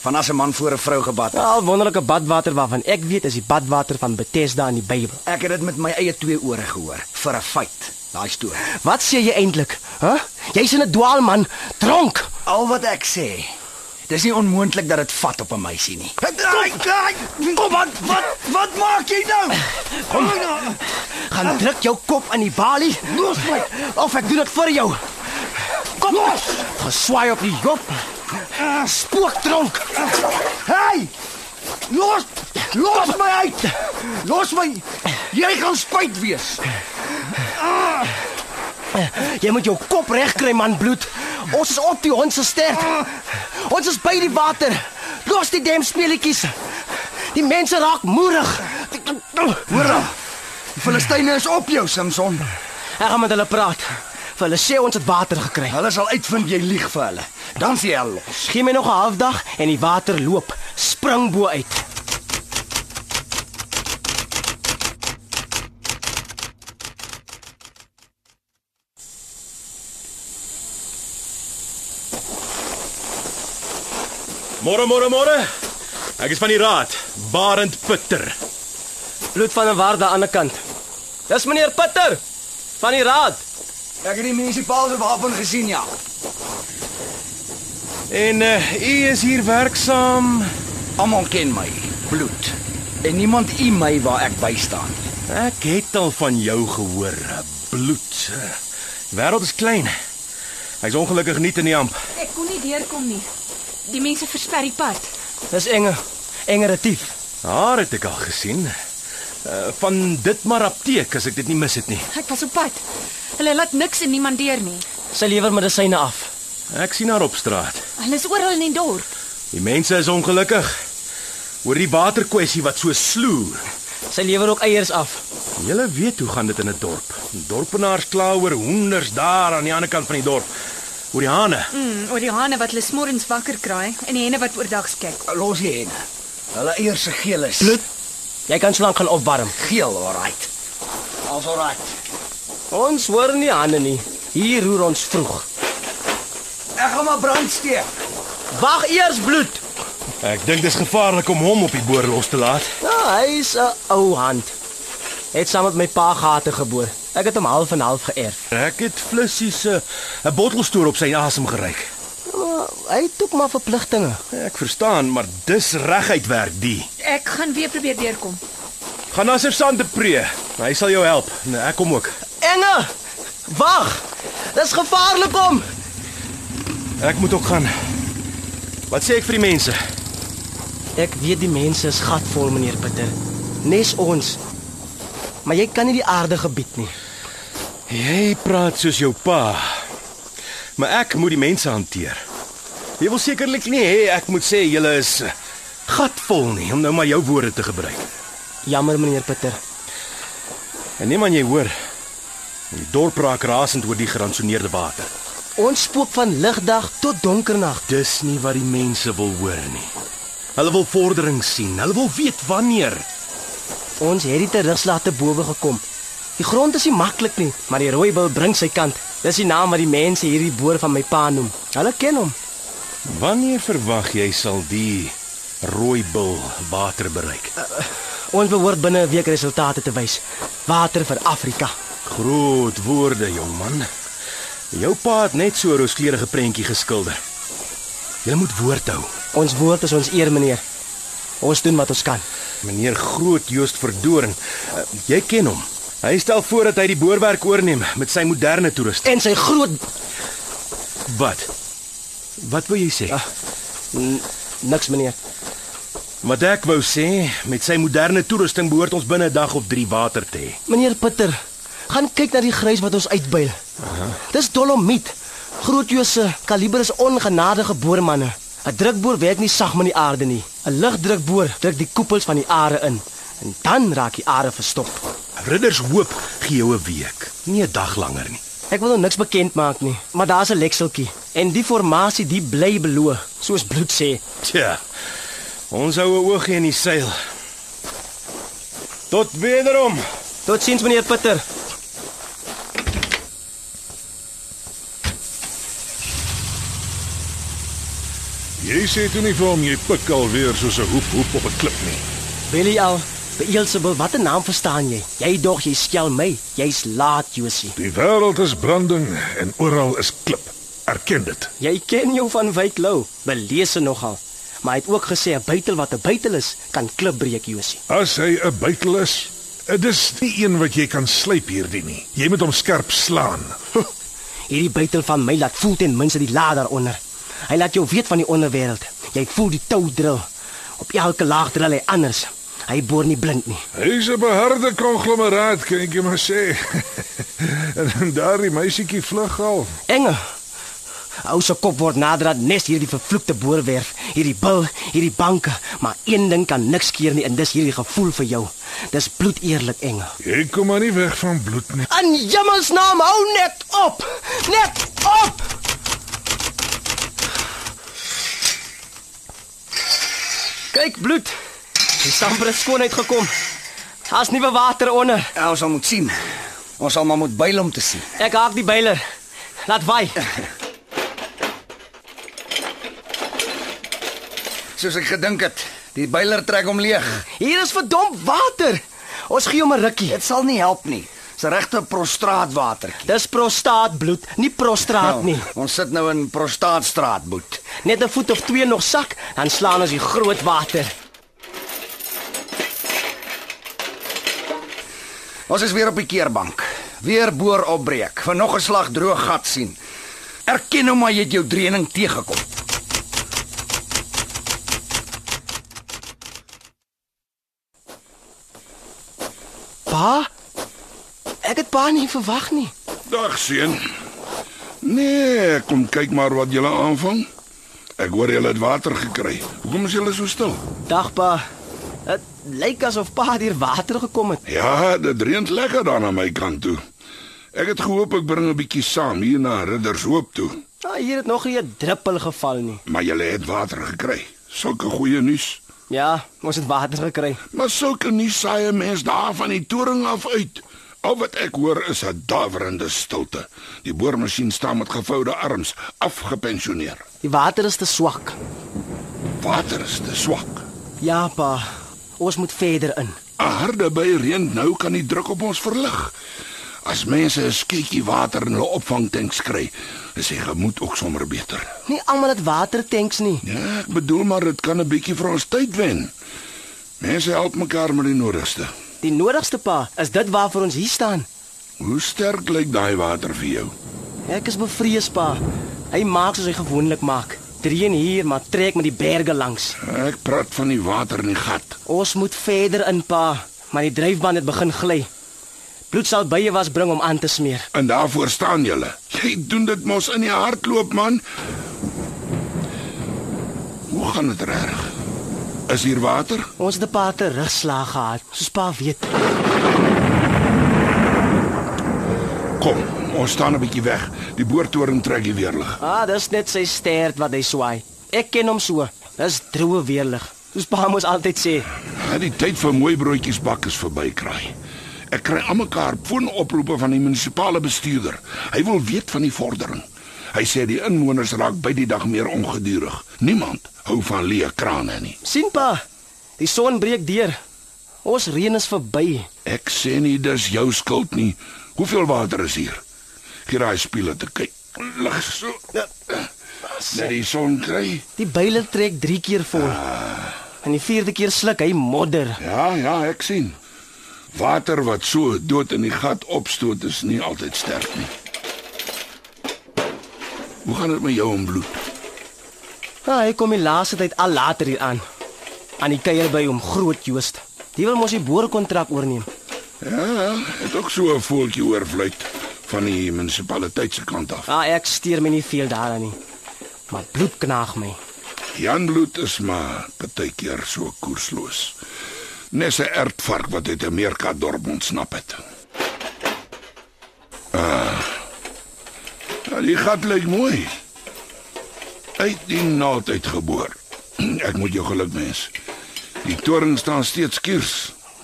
S5: Van as 'n man voor 'n vrou gebad het.
S3: Al wonderlike badwater waarvan ek weet is die badwater van Bethesda in die Bybel.
S5: Ek het dit met my eie twee ore gehoor vir 'n feit. Daai storie.
S3: Wat sê jy eintlik? Hæ? Huh? Jy's in 'n dwaalman, dronk.
S5: Al wat ek sê, dis nie onmoontlik dat dit vat op 'n meisie nie. Draai, draai. Kom aan, wat wat maak jy nou? Kom nou.
S3: Gaan druk jou kop aan die balie.
S5: Los my.
S3: Of ek doen dit vir jou.
S5: Kom los. Ah.
S3: Geswaai op die jop. Spookdronk.
S5: Hey! Los! Los my uit! Los my! Jy gaan spyt wees.
S3: Jy moet jou kop regkry man bloed. Ons is op die hond se stert. Ons is by die water. Los die demspeletjies. Die mense raak moerig.
S5: Hoor dan. Die Filistyne is op jou, Samson.
S3: Ek gaan met hulle praat. Vir hulle sê ons het water gekry.
S5: Hulle sal uitvind jy lieg vir hulle. Dan sien jy hulle los.
S3: Gee my nog 'n halfdag en die water loop. Spring bo uit.
S7: Môre môre môre. Ek is van die raad, Barend Pitter.
S3: Bloed van 'n waar daar aan die kant. Dis meneer Pitter van die raad.
S5: Ek het die munisipale wapen gesien, ja.
S7: En uh, u is hier werksaam.
S5: Almal ken my. Bloed. En niemand u my waar ek by staan.
S7: Ek het al van jou gehoor, bloed. Die Wêreld is klein. Hy's ongelukkig nie in die amp.
S4: Ek kon nie deurkom nie. Die mense versper die pad.
S3: Dis enge enge retief.
S7: Haar het ek al gesien. Uh, van dit maar apteek as ek dit nie mis het nie.
S4: Ek was op pad. Hulle laat niks en niemand deur nie.
S3: Sy lewer medisyne af.
S7: Ek sien haar op straat.
S4: Hulle is oral in die dorp.
S7: Die mense is ongelukkig oor die waterkwessie wat so sloer.
S3: Sy lewer ook eiers af.
S7: Julle weet hoe gaan dit in 'n dorp. Dorpenaars kla oor hoenders daar aan die ander kant van die dorp. Oor die hane.
S2: Mm, oor die hane wat hulle smorgens wakker kraai en die henne wat oordag skek.
S5: Los die henne. Hulle eiers se geel is
S3: Bloed. Jy kan so lank gaan opwarm.
S5: geel, alright. Al's alright.
S3: Ons hoor nie hande nie. Hier roer ons vroeg.
S5: Ek gaan maar brand steek.
S3: Wag eers bloed.
S7: Ek dink dis gevaarlik om hom op die boor los te laat.
S3: Ja, hy's 'n ou hand. Hy Het saam met my pa gate geboor. Ek het hom half en half geërf.
S7: Ek het flissie se 'n bottelstoer op sy asem geryk.
S3: Ja, Maar hy het ook maar verpligtinge.
S7: Ek verstaan, maar dis reguit werk die.
S4: Ek gaan weer probeer deurkom.
S7: Gaan na Sersant de Pre. Hy sal jou help. Nee, ek kom ook.
S3: Enge! Wag! Dis gevaarlik om.
S7: Ek moet ook gaan. Wat sê ek vir die mense?
S3: Ek weet die mense is gatvol, meneer Pieter. Nes ons. Maar jy kan nie die aarde gebied nie.
S7: Jy praat soos jou pa. Maar ek moet die mense hanteer. Jy wil sekerlik nie hê ek moet sê julle is eh, gatvol nie om nou maar jou woorde te gebruik.
S3: Jammer, meneer Pieter.
S7: En neem aan jy hoor. Die dorp raak rasend oor die geransoneerde water.
S3: Ons spook van ligdag tot donkernag.
S7: Dis nie wat die mense wil hoor nie. Hulle wil vordering sien. Hulle wil weet wanneer.
S3: Ons het die terugslag te bowe gekom. Die grond is nie maklik nie, maar die rooi wil bring sy kant. Dis die naam wat die mense hierdie boer van my pa noem. Hulle ken hom.
S7: Wanneer verwag jy sal die rooi bil water bereik?
S3: Ons behoort binne 'n week resultate te wys. Water vir Afrika.
S7: Groot woorde, jong man. Jou pa het net so 'n rooskleurige prentjie geskilder. Jy moet woord hou.
S3: Ons woord is ons eer, meneer. Ons doen wat ons kan.
S7: Meneer Groot Joost Verdoring, eh, jy ken hom. Hy stel voor dat hy die boorwerk oorneem met sy moderne toerusting.
S3: En sy groot
S7: Wat? Wat wil jy sê?
S3: N- niks, meneer.
S7: Wat ek wou sê, met sy moderne toerusting behoort ons binne 'n dag of 3 water te hê.
S3: Meneer Pieter, gaan kyk na die grys wat ons uitbuil. Dis dolomiet. Groot Joos se kaliber is ongenadige boormanne. 'n Drukboor werk nie sag met die aarde nie. 'n Ligdrukboor druk die koepels van die are in en dan raak die are verstop.
S7: Ridders hoop gee jou 'n week, nie 'n dag langer nie.
S3: Ek wil nog niks bekend maak nie, maar daar's 'n lekseltjie en die formasie die bly beloo, soos bloed sê.
S7: Tja. Ons hou 'n oogie in die seil. Tot wederom.
S3: Totsiens meneer Pieter.
S6: Jy sê toe nie vir hom jy pik alweer soos 'n hoep hoep op 'n klip nie.
S3: Billy al, Beelzebul, wat 'n naam verstaan jy? Jy dog jy skel my. Jy's laat, Josie.
S6: Die wêreld is branding en oral is klip. Erken dit.
S3: Jy ken jou van Wyk Lou, belese nogal. Maar hy het ook gesê 'n buitel wat 'n buitel is, kan klip breek, Josie.
S6: As hy 'n buitel is, dit is nie een wat jy kan slyp hierdie nie. Jy moet hom skerp slaan.
S3: Hierdie buitel van my laat voel ten minste die laad daaronder. Hy laat jou weet van die onderwêreld. Jy voel die tou dril. Op elke laag dril hy anders. Hy boor nie blind nie.
S6: Hy's 'n beharde konglomeraat, kan ek jou maar sê. en daardie meisietjie vlug al.
S3: Enge. Ou se kop word nader aan nes hierdie vervloekte boorwerf, hierdie bil, hierdie banke, maar een ding kan niks keer nie en dis hierdie gevoel vir jou. Dis bloedeerlik, Enge.
S6: Jy kom maar nie weg van bloed nie.
S3: In jemmelsnaam hou net op. Net op. Kyk bloed. Die stamper is skoon uitgekom. Daar's nuwe water onder.
S5: Ja, ons sal moet sien. Ons sal maar moet byl om te sien.
S3: Ek haak die byler. Laat vaai.
S5: Soos ek gedink het, die byler trek hom leeg.
S3: Hier is verdomp water. Ons gee hom 'n rukkie.
S5: Dit sal nie help nie. Dis 'n regte prostraatwatertjie.
S3: Dis prostaatbloed, nie prostraat nie.
S5: ons sit nou in Prostaatstraat, boet.
S3: Net 'n voet of twee nog sak, dan slaan ons die groot water.
S5: Ons is weer op die keerbank. Weer boor opbreek. Van nog 'n slag droog gat sien. Erken nou maar jy het jou dreuning teëgekom.
S3: Pa? Ek het pa nie verwag nie.
S8: Dag seun. Nee, kom kyk maar wat julle aanvang. Ek hoor julle het water gekry. Hoekom is julle so stil?
S3: Dag pa. Dit lyk asof pa deur water gekom het.
S8: Ja, dit reën lekker daar aan my kant toe. Ek het gehoop ek bring 'n bietjie saam hier na Riddershoop toe,
S3: Ah, hier het nog nie 'n druppel geval nie.
S8: maar julle het water gekry. Sulke goeie nuus.
S3: Ja, ons het water gekry.
S8: Maar sulke nuus saai 'n mens daar van die toring af uit. Al wat ek hoor is 'n daverende stilte. Die boormasjien staan met gevoude arms, afgepensioneer.
S3: Die water is te swak.
S8: Water is te swak.
S3: Ja pa. Ons moet verder in.
S8: 'n Harde by reën nou kan die druk op ons verlig. As mense 'n skietjie water in hulle opvangtanks kry, is die gemoed ook sommer beter.
S3: Nie almal het watertanks nie.
S8: Ja, ek bedoel maar dit kan 'n bietjie vir ons tyd wen. Mense help mekaar met die nodigste.
S3: Die nodigste pa is dit waarvoor ons hier staan.
S8: Hoe sterk lyk daai water vir jou?
S3: Ek is bevrees pa. Hy maak soos hy gewoonlik maak. Dreën hier, maar trek met die berge langs.
S8: Ek praat van die water in die gat.
S3: Ons moet verder in pa, maar die dryfband het begin gly. Bloed sal bye was bring om aan te smeer.
S8: En daarvoor staan julle. Jy doen dit mos in die hardloop, man. Hoe gaan dit reg? Is hier water?
S3: Ons het 'n paar terugslag gehad, soos pa weet.
S8: Kom, ons staan 'n bietjie weg. Die boortoring trek die weerlig.
S3: Ah, dis net sy stert wat hy swaai. Ek ken hom so. Dis droë weerlig. Soos pa mos altyd sê.
S8: En die tyd vir mooi broodjies bak is verby, kraai. Ek kry almekaar foonoproepe van die munisipale bestuurder. Hy wil weet van die vordering. Hy sê die inwoners raak by die dag meer ongedurig. Niemand hou van leë krane nie.
S3: sien pa, die son breek deur. Ons reën is verby.
S8: Ek sê nie dis jou skuld nie. Hoeveel water is hier? Gee daai spiele te kyk. Lig so. Net die son kry.
S3: Die byle trek 3 keer vol. En die vierde keer sluk hy modder.
S8: Ja, ja, ek sien. Water wat so dood in die gat opstoot is nie altyd sterk nie. Hoe gaan dit met jou en bloed?
S3: Ah, hy kom die laaste tyd al later hier aan. Aan die kuier by hom groot Joost. Die wil mos die boorkontrak oorneem.
S8: Ja, het ook so 'n voeltjie oorvluit van die munisipaliteit se kant af.
S3: Ah, ek steur my nie veel daaraan nie. Maar bloed knaag my.
S8: Jan Bloed is maar partykeer so koersloos. Nes 'n ertvark wat uit 'n meerkat dorp ontsnap het. Ah. Ja, die gat lyk mooi. Uit die naald uitgeboor. Ek moet jou geluk wens. Die toring staan steeds skuurs.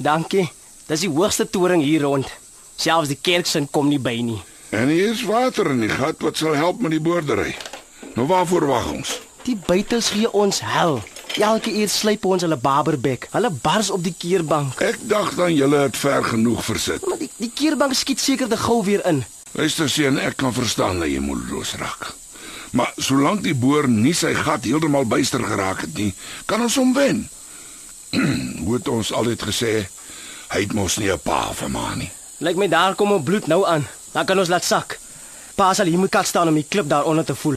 S3: Dankie. Dis die hoogste toring hier rond. Selfs die kerksin kom nie by nie.
S8: En hier is water in die gat wat sal help met die boerdery. Nou waarvoor wag ons?
S3: Die buitels gee ons hel. Elke uur slyp ons hulle baberbek. Hulle bars op die keerbank.
S8: Ek dacht dan julle het ver genoeg versit.
S3: Maar die, die keerbank skiet seker te gou weer in.
S8: Luister seun, ek kan verstaan dat jy moedeloos raak. Maar solank die boer nie sy gat heeltemal byster geraak het nie, kan ons hom wen. Hoe het ons altyd gesê, hy het mos nie 'n pa vir ma nie.
S3: Lyk my daar kom 'n bloed nou aan. Dan kan ons laat sak. Pa sal hier moet kat staan om die klip daaronder te voel.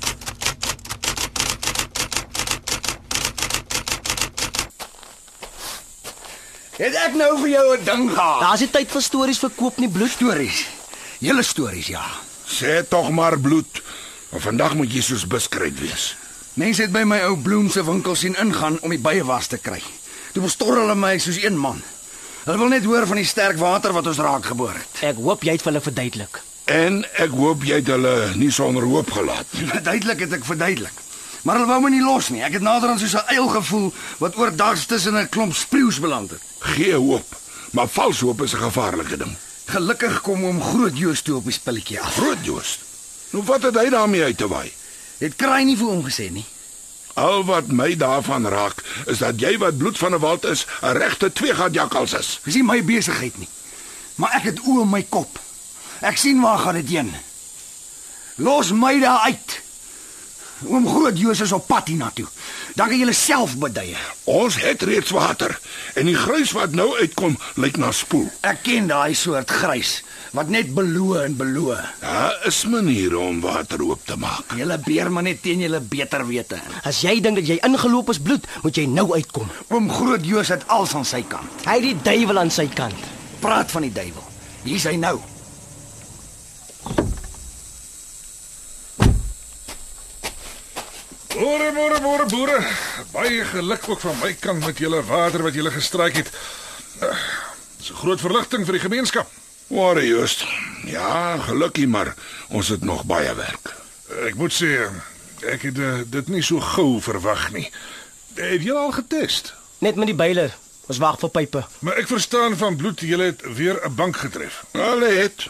S5: Het ek nou vir jou 'n ding gehad?
S3: Daar's nie tyd vir stories verkoop nie bloed.
S5: Stories. Julle stories, ja.
S8: Sê tog maar bloed, maar vandag moet jy soos beskryf wees.
S5: Mense het by my ou Bloem se winkel sien ingaan om die bye was te kry. Toe bestor hulle my soos een man. Hulle wil net hoor van die sterk water wat ons raak geboor het.
S3: Ek hoop jy het vir hulle verduidelik.
S8: En ek hoop jy het hulle nie sonder hoop gelaat nie.
S5: Duidelik het ek verduidelik. Maar hulle wou my nie los nie. Ek het nader aan soos 'n eil gevoel wat oordags tussen 'n klomp spreeus beland het.
S8: Gee hoop, maar vals hoop is 'n gevaarlike ding.
S5: Gelukkig kom hom groot Joost toe op die spilletjie af.
S8: Groot Joost. Nou wat het hy daarmee uit te waai?
S5: Het kraai nie vir hom gesê nie.
S8: Al wat my daarvan raak, is dat jy wat bloed van 'n wald is, 'n regte tweegat jakkals is.
S5: Dis nie my besigheid nie. Maar ek het oë in my kop. Ek sien waar gaan dit heen. Los my daar uit. Oom Groot Joos is op pad hiernatoe. Dan kan julle self beduie.
S8: Ons het reeds water en die gruis wat nou uitkom, lyk na spoel.
S5: Ek ken daai soort grys wat net beloe en beloe.
S8: Daar is maniere om water oop te maak.
S5: Julle beer maar net teen julle beter wete in.
S3: As jy dink dat jy ingeloop is bloed, moet jy nou uitkom.
S5: Oom Groot Joos het als aan sy kant.
S3: Hy het die duiwel aan sy kant.
S5: Praat van die duiwel. Hier's hy nou.
S6: Boere, boere, boere, boere. Baie geluk ook van my kant met julle water wat julle gestryk het. Dis 'n groot verligting vir die gemeenskap.
S8: Waar Joost? Ja, gelukkig maar ons het nog baie werk.
S6: Ek moet sê, ek het eh, dit nie so gou verwag nie. Het julle al getest?
S3: Net met die byler. Ons wag vir pype.
S6: Maar ek verstaan van bloed julle het weer 'n bank getref.
S8: Hulle het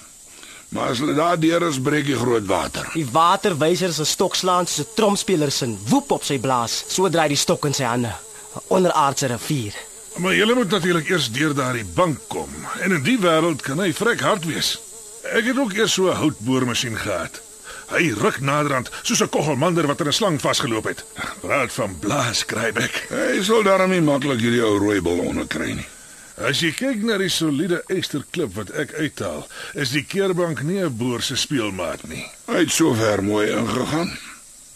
S8: maar as hulle daar deur is breek die groot water.
S3: Die waterwyser se stok slaan soos 'n tromspeler se woep op sy blaas. So draai die stok in sy hande. 'n Onderaardse rivier.
S6: Maar julle moet natuurlik eers deur daardie bank kom en in die wêreld kan hy vrek hard wees. Ek het ook eers so 'n houtboormasjien gehad. Hy ruk naderhand soos 'n koggelmander wat in 'n slang vasgeloop het. Praat van blaas krybek.
S8: Hy sal daarom nie maklik hierdie ou rooi ballonne kry nie.
S6: As jy kyk na die soliede eysterklip wat ek uithaal, is die keerbank nie 'n boer se speelmaat nie.
S8: Hy het sover mooi ingegaan.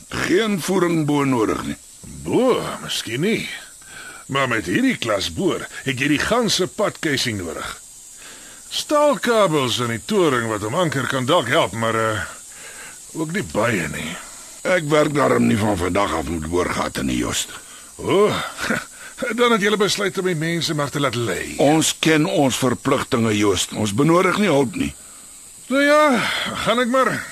S8: Geen voering bo nodig nie.
S6: Bo, miskien nie. Maar met hierdie klas boer het jy die ganse padkeising nodig. Staalkabels in die toring wat hom anker kan dalk help, maar uh, ook nie baie nie.
S8: Ek werk daarom nie van vandag af met boorgate nie, Joost.
S6: O, oh, dan het jy besluit om die mense maar te laat lê.
S8: Ons ken ons verpligtinge, Joost. Ons benodig nie hulp nie.
S6: Nou ja, gaan ek maar.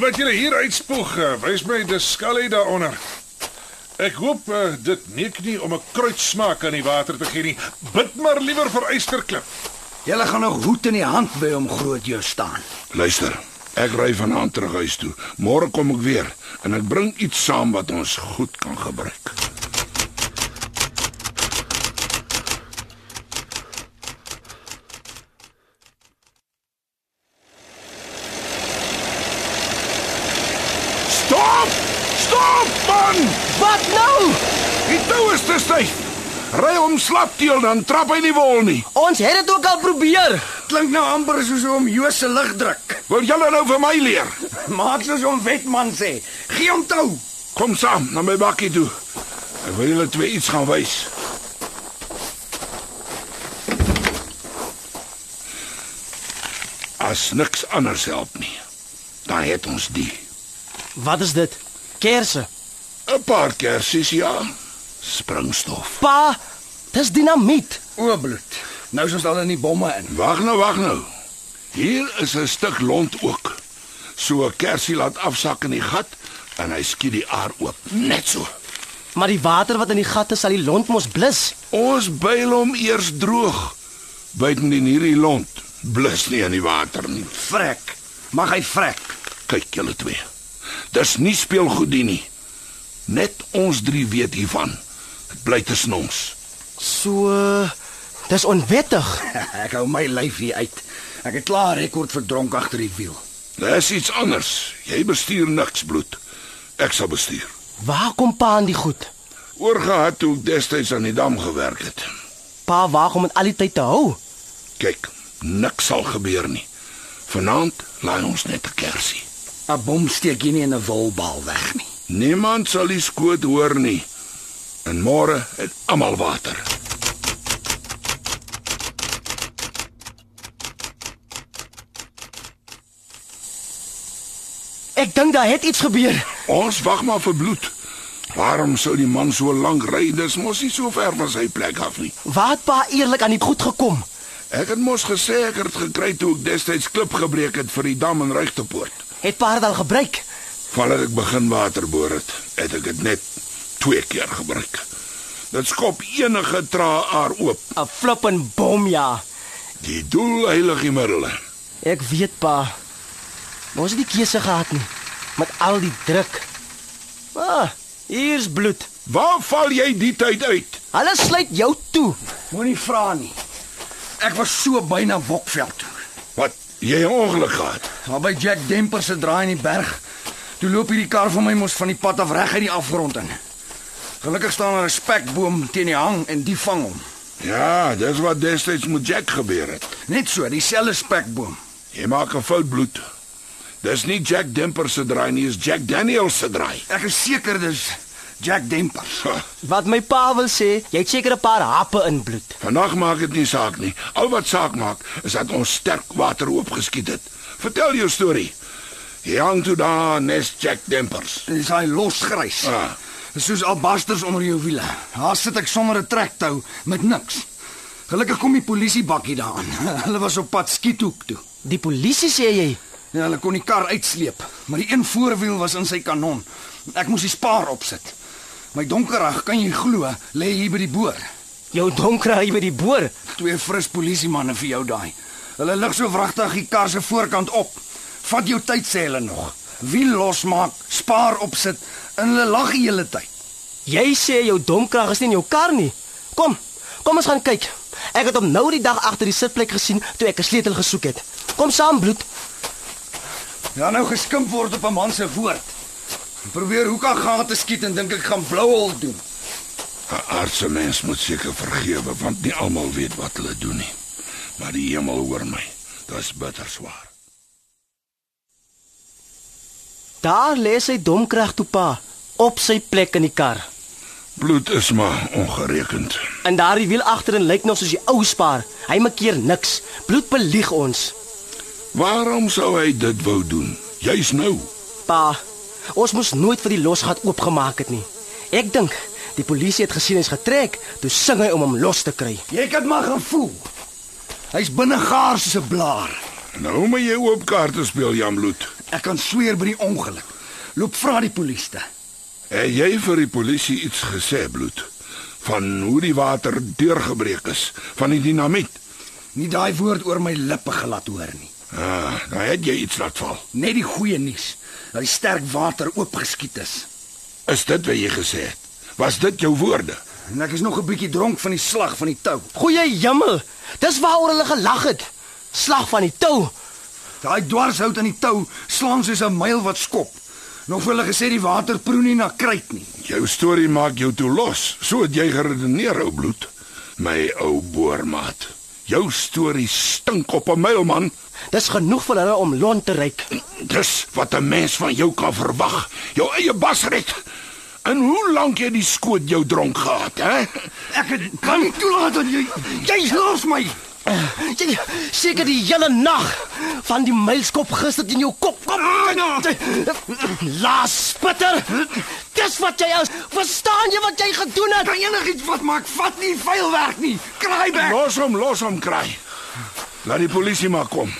S6: Wat julle hier uitspoeg, eh, wys my dis skalie daaronder. Ek hoop eh, dit neek nie om 'n kruidsmaak aan die water te gee nie. Bid maar liewer vir ysterklip.
S5: Julle gaan nog hoed in die hand by hom groot jou staan.
S8: Luister, ek ry vanaand terug huis toe. Môre kom ek weer en ek bring iets saam wat ons goed kan gebruik. Stop! Stop man!
S3: Wat nou?
S8: Die tou is te styf. Ry hom slapteel dan trap hy nie wol nie.
S3: Ons het dit ook al probeer.
S5: Klink nou amper soos om Joos se lig druk.
S8: Wil julle nou vir my leer?
S5: Maak soos om wetman sê. Gee hom tou.
S8: Kom saam na my bakkie toe. Ek wil julle twee iets gaan wys. As niks anders help nie, dan het ons die.
S3: Wat is dit? Kerse.
S8: 'n Paar kersies ja, springstof.
S3: Pa, dis dinamiet.
S5: O bloed. Nou is ons al in die bomme in.
S8: Wag nou, wag nou. Hier is 'n stuk lont ook. So 'n kersie laat afsak in die gat en hy skiet die aar oop, net so.
S3: Maar die water wat in die gat is, sal die lont mos blus.
S8: Ons byl hom eers droog. Byt nie in hierdie lont. Blus nie in die water nie.
S5: Vrek. Mag hy vrek.
S8: Kyk julle twee. Dis nie speelgoedie nie. Net ons drie weet hiervan. Dit bly tussen ons.
S3: So dis onwettig.
S5: Ek hou my lyf hier uit. Ek het klaar rekord vir dronk agter die wiel.
S8: Dis iets anders. Jy bestuur niks bloed. Ek sal bestuur.
S3: Waar kom pa aan die goed?
S8: Oorgehad toe ek destyds aan die dam gewerk het.
S3: Pa waag om dit al die tyd te hou.
S8: Kyk, niks sal gebeur nie. Vanaand laai ons net 'n kersie.
S5: 'n Bom steek jy nie in 'n wolbal weg nie.
S8: Niemand sal die skoot hoor nie. En môre het almal water.
S3: Ek dink daar het iets gebeur.
S8: Ons wag maar vir bloed. Waarom sou die man so lank ry? Dis mos nie so ver van sy plek af nie.
S3: Waar het pa eerlik aan die goed gekom?
S8: Ek het mos gesê ek het dit gekry toe ek destyds klip gebreek het vir die dam in Regtepoort.
S3: Het pa dit al gebruik?
S8: Vandat ek begin water boor het, het ek dit net twee keer gebruik. Dit skop enige trae aar oop.
S3: 'n Flip en bom ja.
S8: Die doel heilig die middel.
S3: Ek weet pa. Ons het die keuse gehad nie met al die druk. Ah, hier's bloed.
S8: Waar Nou val jy die tyd uit?
S3: Hulle sluit jou toe.
S5: Moenie vra nie. Ek was so byna Wokveld toe.
S8: Wat? Jy 'n ongeluk gehad.
S5: Daar by Jack Demper se draai in die berg. Toe loop hierdie kar van my mos van die pad af reg uit die afgrond in. Gelukkig staan 'n respekboom teen die hang en die vang hom.
S8: Ja, dis wat destyds met Jack gebeur het.
S5: Net so, dieselfde spekboom.
S8: Jy maak 'n fout bloed. Dis nie Jack Demper se draai nie, is Jack Daniels se draai.
S5: Ek is seker dis Jack Demper.
S3: Wat my pa wil sê, jy het seker 'n paar happe in bloed.
S8: Vandag maak dit nie saak nie. Al wat saak maak is dat ons sterk water oopgeskiet het. Vertel jou storie. Hy hang toe daar nes Jack Dempers.
S5: Dis hy losgrys.
S8: Ah.
S5: Dis soos albasters onder jou wiele. Daar sit ek sonder 'n trektou met niks. Gelukkig kom die polisie bakkie daaraan. Hulle was op pad skiethoek toe.
S3: Die polisie sê jy
S5: Ja, hulle kon die kar uitsleep, maar die een voorwiel was in sy kanon. Ek moes die spaar opsit. My donkerag, kan jy glo, lê hier by die boor.
S3: jou donker hy by die boor.
S5: Twee fris polisiemanne vir jou daai. Hulle lig so wragtig die kar se voorkant op. Vat jou tyd sê hulle nog. Wiel losmaak, spaar opsit en hulle lag die hele tyd.
S3: Jy sê jou domkrag is nie in jou kar nie. Kom, kom ons gaan kyk. Ek het hom nou die dag agter die sitplek gesien toe ek 'n sleutel gesoek het. Kom saam, bloed.
S5: Ja nou geskimp word op 'n man se woord. Probeer hoeka gate skiet en dink ek gaan blouhol doen.
S8: 'n Aardse mens moet seker vergewe want nie almal weet wat hulle doen nie. Maar die hemel hoor my. Dis bitter swaar.
S3: Daar lê sy domkrag toe pa op sy plek in die kar.
S8: Bloed is maar ongerekend.
S3: En daardie wiel agterin lyk nog soos die ou spaar. Hy maak keer niks. Bloed belieg ons.
S8: Waarom sou hy dit wou doen? Juis nou.
S3: Pa, ons moes nooit vir die losgat oopgemaak het nie. Ek dink die polisie het gesien hy's getrek, toe sing hy om hom los te kry.
S5: Jy kan maar gaan voel. Hy's binne gaar soos 'n blaar.
S8: Nou moet jy oop kaarte speel, Jamloot.
S5: Ek kan sweer by die ongeluk. Loop vra die polisie.
S8: Het jy vir die polisie iets gesê, Bloed? Van hoe die water deurgebreek is, van die dinamiet?
S5: Nie daai woord oor my lippe gelaat hoor nie.
S8: Ah, nou het jy iets laat val.
S5: Net die goeie nuus dat die sterk water oopgeskiet is.
S8: Is dit wat jy gesê het? Was dit jou woorde?
S5: En ek is nog 'n bietjie dronk van die slag van die tou.
S3: Goeie jemmel. Eh, Dis waaroor hulle gelag het. Slag van die tou.
S5: Daai dwarshout aan die tou slaan soos 'n myl wat skop. Nog vir hulle gesê die water proe nie na kruit nie.
S8: Jou storie maak jou toe los. So het jy geredeneer, ou Bloed. My ou boermaat. Jou storie stink op 'n myl man.
S3: Dis genoeg vir hulle om lont te ryk.
S8: Dis wat 'n mens van jou kan verwag. Jou eie basret. En hoe lank jy die skoot jou dronk gehad, hè?
S5: Ek het- kan nie toelaat dat jy jy los my.
S3: Jy seker die hele nag van die mylskop gister in jou kop kom. Laas spitter. Dis wat jy is. Verstaan jy wat jy gedoen het?
S5: Kan enigiets wat maak vat nie vuil werk nie. Kraai weg.
S8: Los hom, los hom kraai. Laat die polisie maar kom.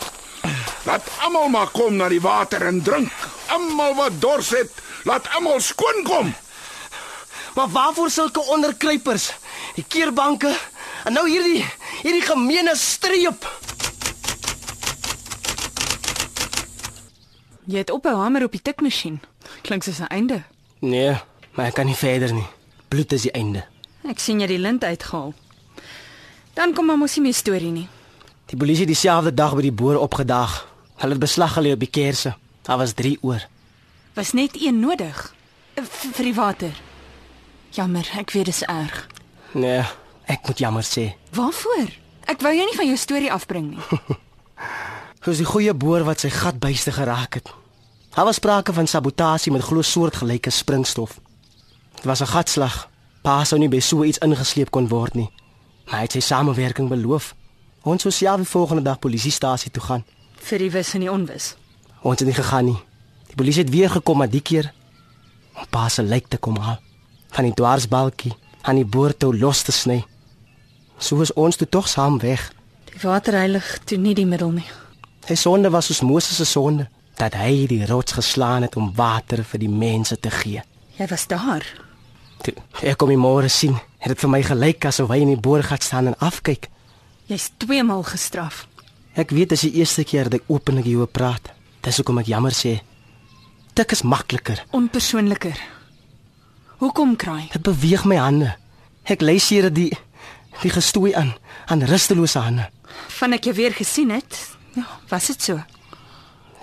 S8: Laat almal maar kom na die water en drink. Almal wat dors het, laat almal skoon kom.
S3: Maar waarvoor sulke onderkruipers? Die keerbanke en nou hierdie hierdie gemeene streep.
S2: Jy het ophou hamer op die tikmasjien. Klink soos 'n einde.
S3: Nee, maar ek kan nie verder nie. Bloed is die einde.
S2: Ek sien jy het die lint uitgehaal. Dan kom maar mos nie my storie nie.
S3: Die polisie het dieselfde dag by die boer opgedaag. Hulle het beslag gelê op die kersse. Daar was 3 oor.
S2: Was net een nodig Eh, v- vir die water. Jammer, ek weet dis erg.
S3: Nee, ek moet jammer sê.
S2: Waarvoor? Ek wou jou nie van jou storie afbring nie.
S3: Soos die goeie boer wat sy gat byste geraak het. Daar was sprake van sabotasie met glo soortgelyke springstof. Dit was 'n gatslag. Pa sou nie by so iets ingesleep kon word nie. Maar hy het sy samewerking beloof. Ons sou self die volgende dag polisiestasie toe gaan.
S2: Vir die wis en die onwis.
S3: Ons het nie gegaan nie. Die polisie het weer gekom maar die keer om pa se lijk te kom haal van die dwarsbalkie aan die boortou los te sny. So is ons toe tog saam weg.
S2: Die water heilig toe nie die middel nie.
S3: Sy sonde was soos Moses se sonde dat hy die rots geslaan het om water vir die mense te gee.
S2: Jy was daar.
S3: Toe ek kom die môre sien, het dit vir my gelyk asof hy in die boorgat staan en afkyk.
S2: Jy's twee maal gestraf.
S3: Ek weet dis die eerste keer dat ek openlik hieroor praat. Dis hoekom ek jammer sê. Tik is makliker.
S2: Onpersoonliker. Hoekom kraai?
S3: Dit beweeg my hande. Ek lei seere die die gestoei aan aan rustelose hande.
S2: Van ek jou weer gesien het, ja, was dit so.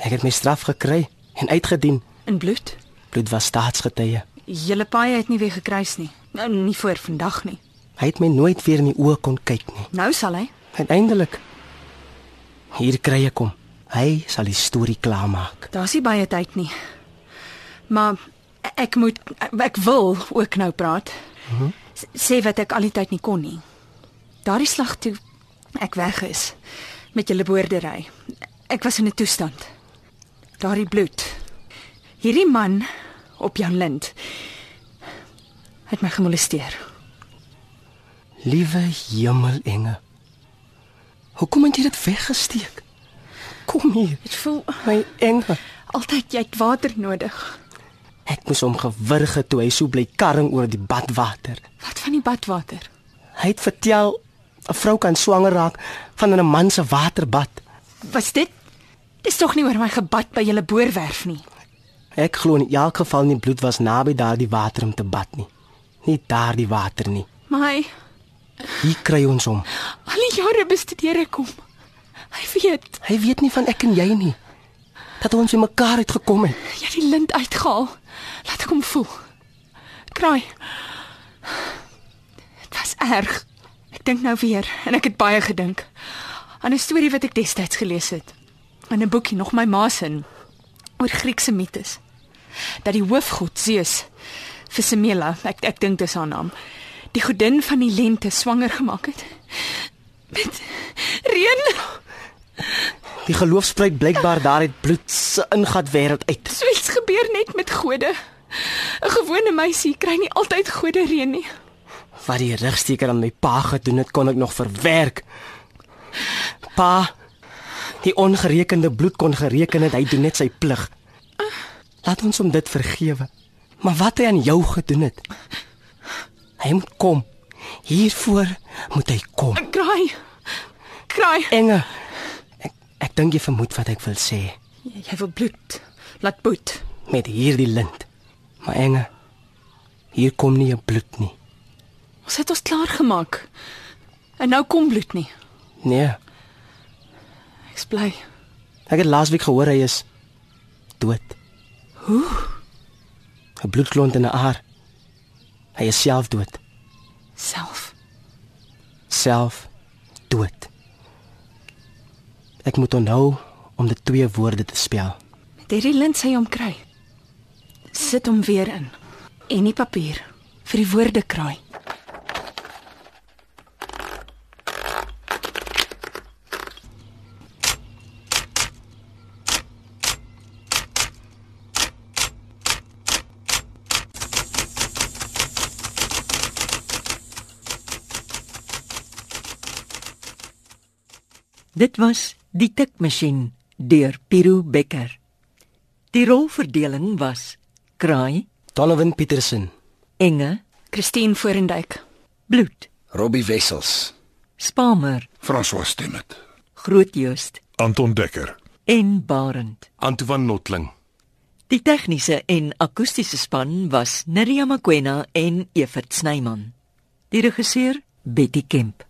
S3: Ek het my straf gekry en uitgedien.
S2: In bloed.
S3: Bloed was staatsgetuie.
S2: Julle paai het nie weer gekruis nie. Nou nie voor vandag nie.
S3: Hy het my nooit weer in die oë kon kyk nie.
S2: Nou sal hy.
S3: Uiteindelik hier kry ek hom. Hy sal die storie klaarmaak.
S2: Daar's nie baie tyd nie. Maar ek moet ek wil ook nou praat. S- Sê wat ek al die tyd nie kon nie. Daardie slag toe ek weg is met julle boerdery. Ek was in 'n toestand. Daardie bloed. Hierdie man op Jan Lind het my gemolesteer.
S3: Liewe hemelenge. Hoekom het jy dit weggesteek? Kom hier,
S2: Dit voel
S3: my engel.
S2: altyd jy het water nodig.
S3: Ek moes hom gewurge toe hy so bly karring oor die badwater.
S2: Wat van die badwater?
S3: Hy het vertel 'n vrou kan swanger raak van in 'n man se waterbad.
S2: Was dit? Dis tog nie oor my gebad by julle boerwerf nie.
S3: Ek glo in elk geval nie bloed was naby daardie water om te bad nie. Nie daardie water nie.
S2: Maar hy
S3: Hier kry ons hom.
S2: Al die jare bestudeer ek hom. Hy weet
S3: Hy weet nie van ek en jy nie. Dat ons by mekaar uitgekom het.
S2: jy het die lint uitgehaal. Laat ek hom voel. Kraai. Dit was erg. Ek dink nou weer en ek het baie gedink aan 'n storie wat ek destyds gelees het in 'n boekie nog my ma se in oor Griekse mites. Dat die hoofgod Zeus vir Semela, ek ek dink dis haar naam, die godin van die lente swanger gemaak het. Met reën
S3: Die geloof spruit blykbaar daar uit bloed se ingat wêreld uit.
S2: So iets gebeur net met gode. 'n Gewone meisie kry nie altyd gode reën nie.
S3: Wat die rigsteker aan my pa gedoen het, kon ek nog verwerk. Pa, Die ongerekende bloed kon gereken het, hy doen net sy plig. Laat ons hom dit vergewe. Maar wat hy aan jou gedoen het. Hy moet kom. Hiervoor moet hy kom.
S2: Ek kraai. Kraai.
S3: Enge. Ek ek dink jy vermoed wat ek wil sê
S2: Jy, jy wil bloed. Laat boet.
S3: met hierdie lint. Maar Enge, hier kom nie 'n bloed nie.
S2: Ons het ons klaar gemaak. En nou kom bloed nie.
S3: Nee,
S2: Ek's bly.
S3: ek het laasweek gehoor hy is dood. Hoe? 'n Bloedklont in 'n aar. Hy is self dood.
S2: Self.
S3: self dood. Ek moet onthou om die twee woorde te spel.
S2: Met hierdie lint sê jy hom kry. Sit hom weer in. En die papier vir die woorde kraai.
S1: Dit was Die Tikmasjien deur Piero Becker. Die rolverdeling was Kraai,
S3: Donovan Petersen,
S1: Enge,
S2: Christine Forendyk.
S1: Bloed,
S5: Robbie Wessels.
S1: Spamer,
S8: François Stemmet.
S1: Grootjoost
S6: Anton Dekker.
S1: en Barend.
S7: Antoine Notling.
S1: Die tegniese en akoestiese span was Neriya Mkwena en Evert Snyman. Die regisseur Betty Kemp.